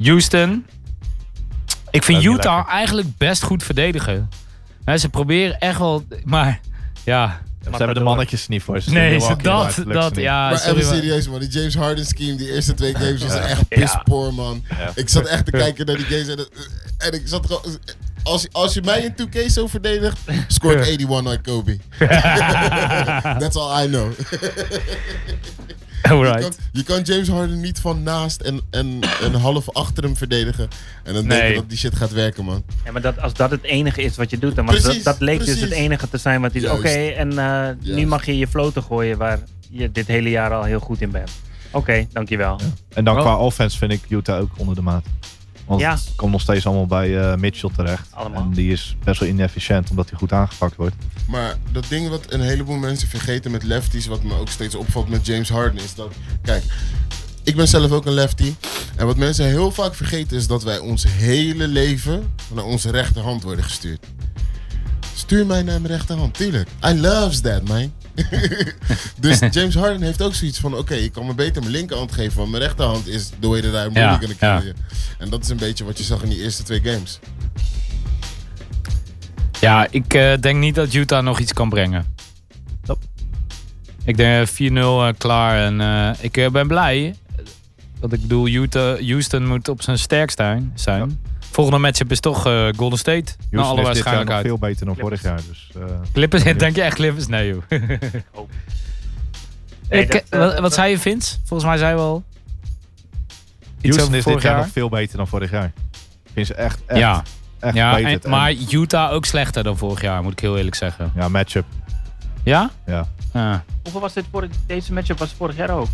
Houston. Ik vind Ook niet Utah lekker. eigenlijk best goed verdedigen. Hè, ze proberen echt wel, maar ja. Ze hebben de mannetjes niet voor. Ze Nee, doen ze- Milwaukee, maar dat, het lukt ze dat, niet. ja. maar sorry, even maar- serieus man, die James Harden scheme, die eerste twee games was echt pispoor man. Ja. Ik zat echt te kijken naar die games en, dat- en ik zat gewoon... Als, als je mij in 2K zo verdedigt, scoort 81 like Kobe. That's all I know. Je kan, Alright. je kan James Harden niet van naast en, en, en half achter hem verdedigen. En dan Nee. denken dat die shit gaat werken, man. Ja, maar dat, als dat het enige is wat je doet, dan want Precies, dat, dat leek precies. dus het enige te zijn wat hij zei. Oké, Juist. en eh, nu Juist. mag je je floten gooien waar je dit hele jaar al heel goed in bent. Oké, dankjewel. En dan Oh. qua offense vind ik Utah ook onder de maat. Want Ja. het komt nog steeds allemaal bij eh, Mitchell terecht. Allemaal. En die is best wel inefficiënt omdat hij goed aangepakt wordt. Nou, Maar dat ding wat een heleboel mensen vergeten met lefties, wat me ook steeds opvalt met James Harden, is dat. Kijk, ik ben zelf ook een lefty. En wat mensen heel vaak vergeten is dat wij ons hele leven naar onze rechterhand worden gestuurd. Stuur mij naar mijn rechterhand, tuurlijk. I loves that, man. dus James Harden heeft ook zoiets van: oké, ik kan me beter mijn linkerhand geven, want mijn rechterhand is the way that I'm Ja, really gonna kill ja. you. En dat is een beetje wat je zag in die eerste twee games. Ja, ik eh, denk niet dat Utah nog iets kan brengen. Nope. Ik denk eh, 4-0 eh, klaar en eh, ik eh, ben blij. Want ik bedoel, Utah, Houston moet op zijn sterkst zijn. zijn. Volgende matchup is toch eh, Golden State. naar Houston alle is dit jaar nog waarschijnlijkheid. veel beter dan Clippers. vorig jaar. Dus, eh, Clippers, denk je echt Clippers? Nee joh. Oh. Nee, Ik- dat, eh, wat, dat- wat zei je Vince? Volgens mij zei we al iets Houston over is dit vorig jaar jaar. nog veel beter dan vorig jaar. Ik vind ze echt, echt, ja, echt ja en- beter. En- maar Utah ook slechter dan vorig jaar, moet ik heel eerlijk zeggen. ja, matchup. Ja? Ja. Ja. Hoeveel was dit voor deze matchup? Was vorig jaar ook?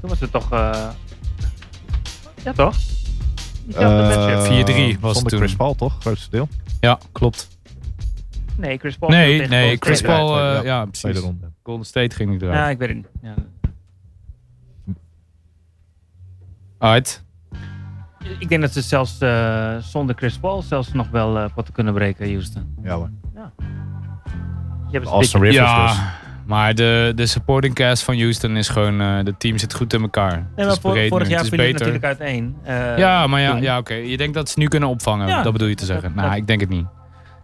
Toen was het toch. eh, Ja, toch? Hetzelfde Eh, matchup. 4-3 was Zonder toen. Chris Paul toch, grootste deel. Ja, klopt. Nee, Chris Paul. speelde Nee, tegen nee, Golden Chris State. Paul, Ja, eh, ja, precies. Tweede ronde. Golden State ging niet Ja, eruit. ik weet het niet. Ja. Alright. Ik denk dat ze zelfs eh, zonder Chris Paul zelfs nog wel eh, wat kunnen breken, Houston. Ja hoor. Je hebt Austin een Rivers Ja, dus. maar de, de supporting cast van Houston is gewoon, eh het team zit goed in elkaar. Nee, het maar is vor- breed vorig nu, jaar het is viel het beter. natuurlijk uiteen. eh, Ja, maar ja, toen. ja oké. Je denkt dat ze nu kunnen opvangen. Ja. Dat bedoel je te zeggen. Nou, dat- ik denk het niet.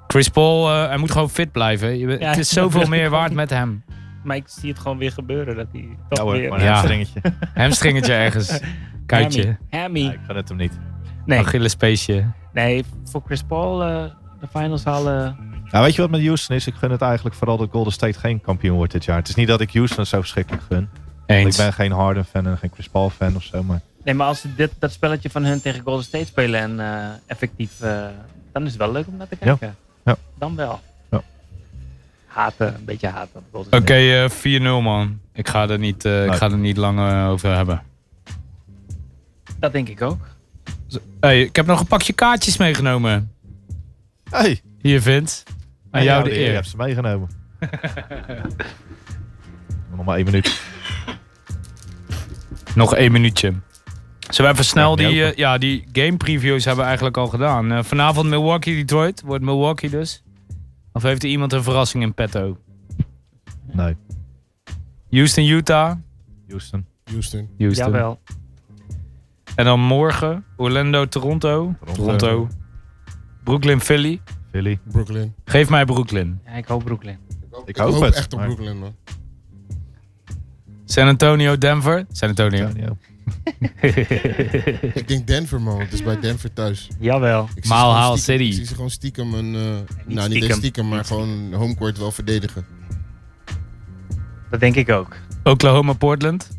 Chris Paul, eh, hij moet gewoon fit blijven. Je, bent- Ja, het is dat zoveel wil ik meer ook waard niet. met hem. Maar ik zie het gewoon weer gebeuren. Dat hij toch Ja hoor, weer... maar Ja. een hamstringetje. Hamstringetje ergens. Kuitje. Hammy. Hammy. Nee, ik kan het hem niet. Nee, Achillespeesje. nee, voor Chris Paul eh, de finals halen... Nou, weet je wat met Houston is? Ik gun het eigenlijk vooral dat Golden State geen kampioen wordt dit jaar. Het is niet dat ik Houston zo verschrikkelijk gun. Want Eens. ik ben geen Harden fan en geen Chris Paul fan of zo. Maar Nee, maar als ze dit, dat spelletje van hun tegen Golden State spelen en eh, effectief, eh, dan is het wel leuk om naar te kijken. Ja. Dan wel. Ja. Haten, een beetje haten op Golden Oké, State. eh, 4-0 man. Ik ga er niet, eh, ik Nee. ga er niet lang eh, over hebben. Dat denk ik ook. Hey, ik heb nog een pakje kaartjes meegenomen. Hey, Hier, Vince. Aan jou de Je eer. hebt ze meegenomen. nog maar één minuut. Nog één minuutje. Zullen we even snel Ja, die, die eh, ja, die game previews hebben we eigenlijk al gedaan. Eh, vanavond Milwaukee Detroit. Wordt Milwaukee dus. Of heeft er iemand een verrassing in petto? Nee, Houston, Utah. Houston. Houston. Houston. Jawel. En dan morgen Orlando, Toronto. Toronto. Toronto. Brooklyn, Philly. Philly. Brooklyn. Geef mij Brooklyn. Ja, ik hoop Brooklyn. Ik, hoop hoop, het, echt op maar- Brooklyn, man. San Antonio, Denver. San Antonio. Antonio. Ik denk Denver, man. want Het is bij Denver thuis. Jawel. Ik zie Mile ze gewoon High stiekem- City. Ik zie ze gewoon stiekem een... eh, nou, niet stiekem. eens stiekem, maar gewoon homecourt wel verdedigen. Dat denk ik ook. Oklahoma, Portland.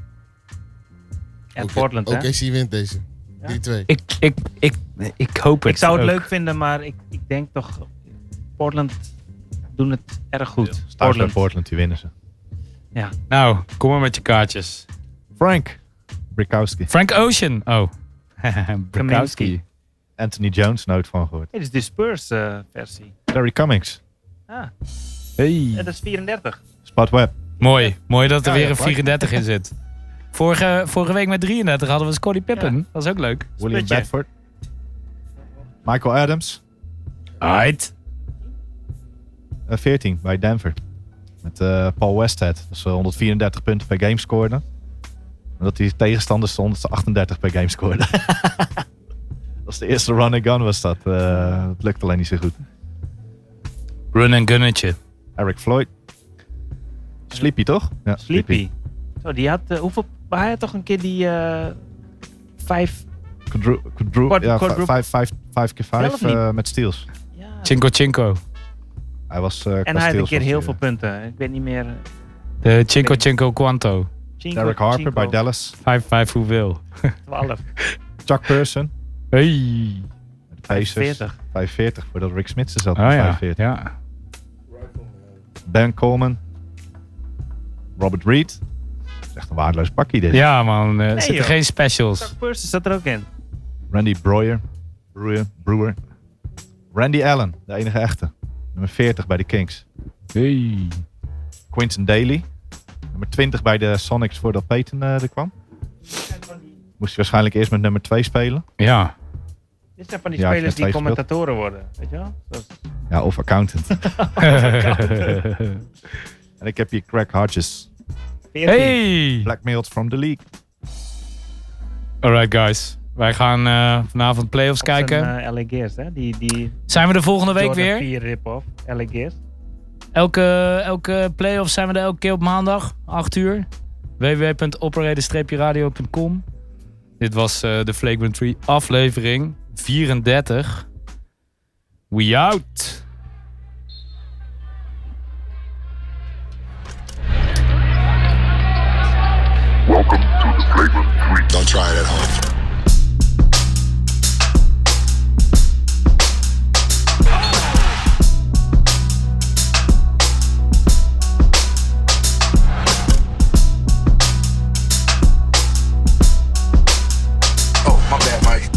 En Oké- Portland, hè? OKC wint deze. Ja. 3-2. Ik, ik, ik, ik hoop het. Ik zou het ook. leuk vinden, maar ik, ik denk toch... Portland doen het erg goed. Staat bij Portland. Portland, die winnen ze. Nou, kom maar met je kaartjes. Frank. Brikowski. Frank Ocean. Oh. Kaminski. Bukowski. Anthony Jones, nooit van gehoord. Dit is de Spurs eh, versie. Terry Cummings. Ah, Hey. dat is 34. Spot Web. Mooi. Mooi dat er Ja, weer ja, een Frank. 34 in zit. Vorige, vorige week met 33 hadden we Scottie Pippen. Dat is ook leuk. William Splitje. Bedford. Michael Adams. Alright. eh, 14 bij Denver. Met eh, Paul Westhead. Dus eh, 134 punten per game scoorde. En dat die tegenstanders 138 per game scoorden. dat was de eerste run and gun was dat. Eh, het lukt alleen niet zo goed. Run and gunnetje. Eric Floyd. Sleepy toch? Ja, Sleepy. Zo, die had... eh, hoeveel... Maar hij had toch een keer die... eh, vijf... Quadru- quadru- Quad- ja, quadruple. 5 vijf, vijf keer 5 Wel of niet? met steals. Ja. Cinco Cinco. Hij was, eh, qua En hij had een steals keer was heel hij, veel eh, punten. Ik weet niet meer... eh, De Cinco Cinco Quanto. Cinco, Derek Harper Cinco, bij Dallas. 5-5 hoeveel? 12. Chuck Person. Hey. De Pacers. 45. 45, voordat Rick Smits er zat. Oh ja. 45. ja. Ben Coleman. Robert Reed. Dat is echt een waardeloos pakje dit. Ja man, eh, er zitten joh. geen specials. Chuck Purse zat er ook in. Randy Breuer. Brewer. Brewer. Randy Allen, de enige echte. Nummer 40 bij de Kings. Hey. Quinton Daly. Nummer 20 bij de Sonics voordat Peyton eh, er kwam. Moest hij waarschijnlijk eerst met nummer 2 spelen. Ja. Dit zijn van die Ja, ik spelers heb die twee gespeeld. commentatoren worden. Weet je wel? Zoals- Ja, of accountant. en ik heb hier Craig Hodges. 14. hey. Blackmailed from the league. Alright guys. Wij gaan eh, vanavond playoffs Op zijn, kijken. eh, LA Gears, hè? Die, die Zijn we er volgende week Jordan weer? 4 rip-off. LA Gears. Elke, elke play-off zijn we er elke keer op maandag, 8 uur. www.operator-radio.com Dit was eh, de Flagrant 3 aflevering 34. We out! Don't try it at home. Oh, my bad, Mike.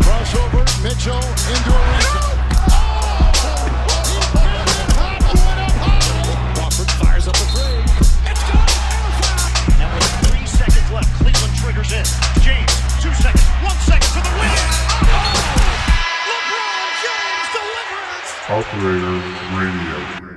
Crossover, Mitchell into a ring. Crawford fires up the break. It's good. And a foul. Now with three seconds left, Cleveland triggers in. James, two seconds, one second to the win. Oh! LeBron James delivers. Operator Radio.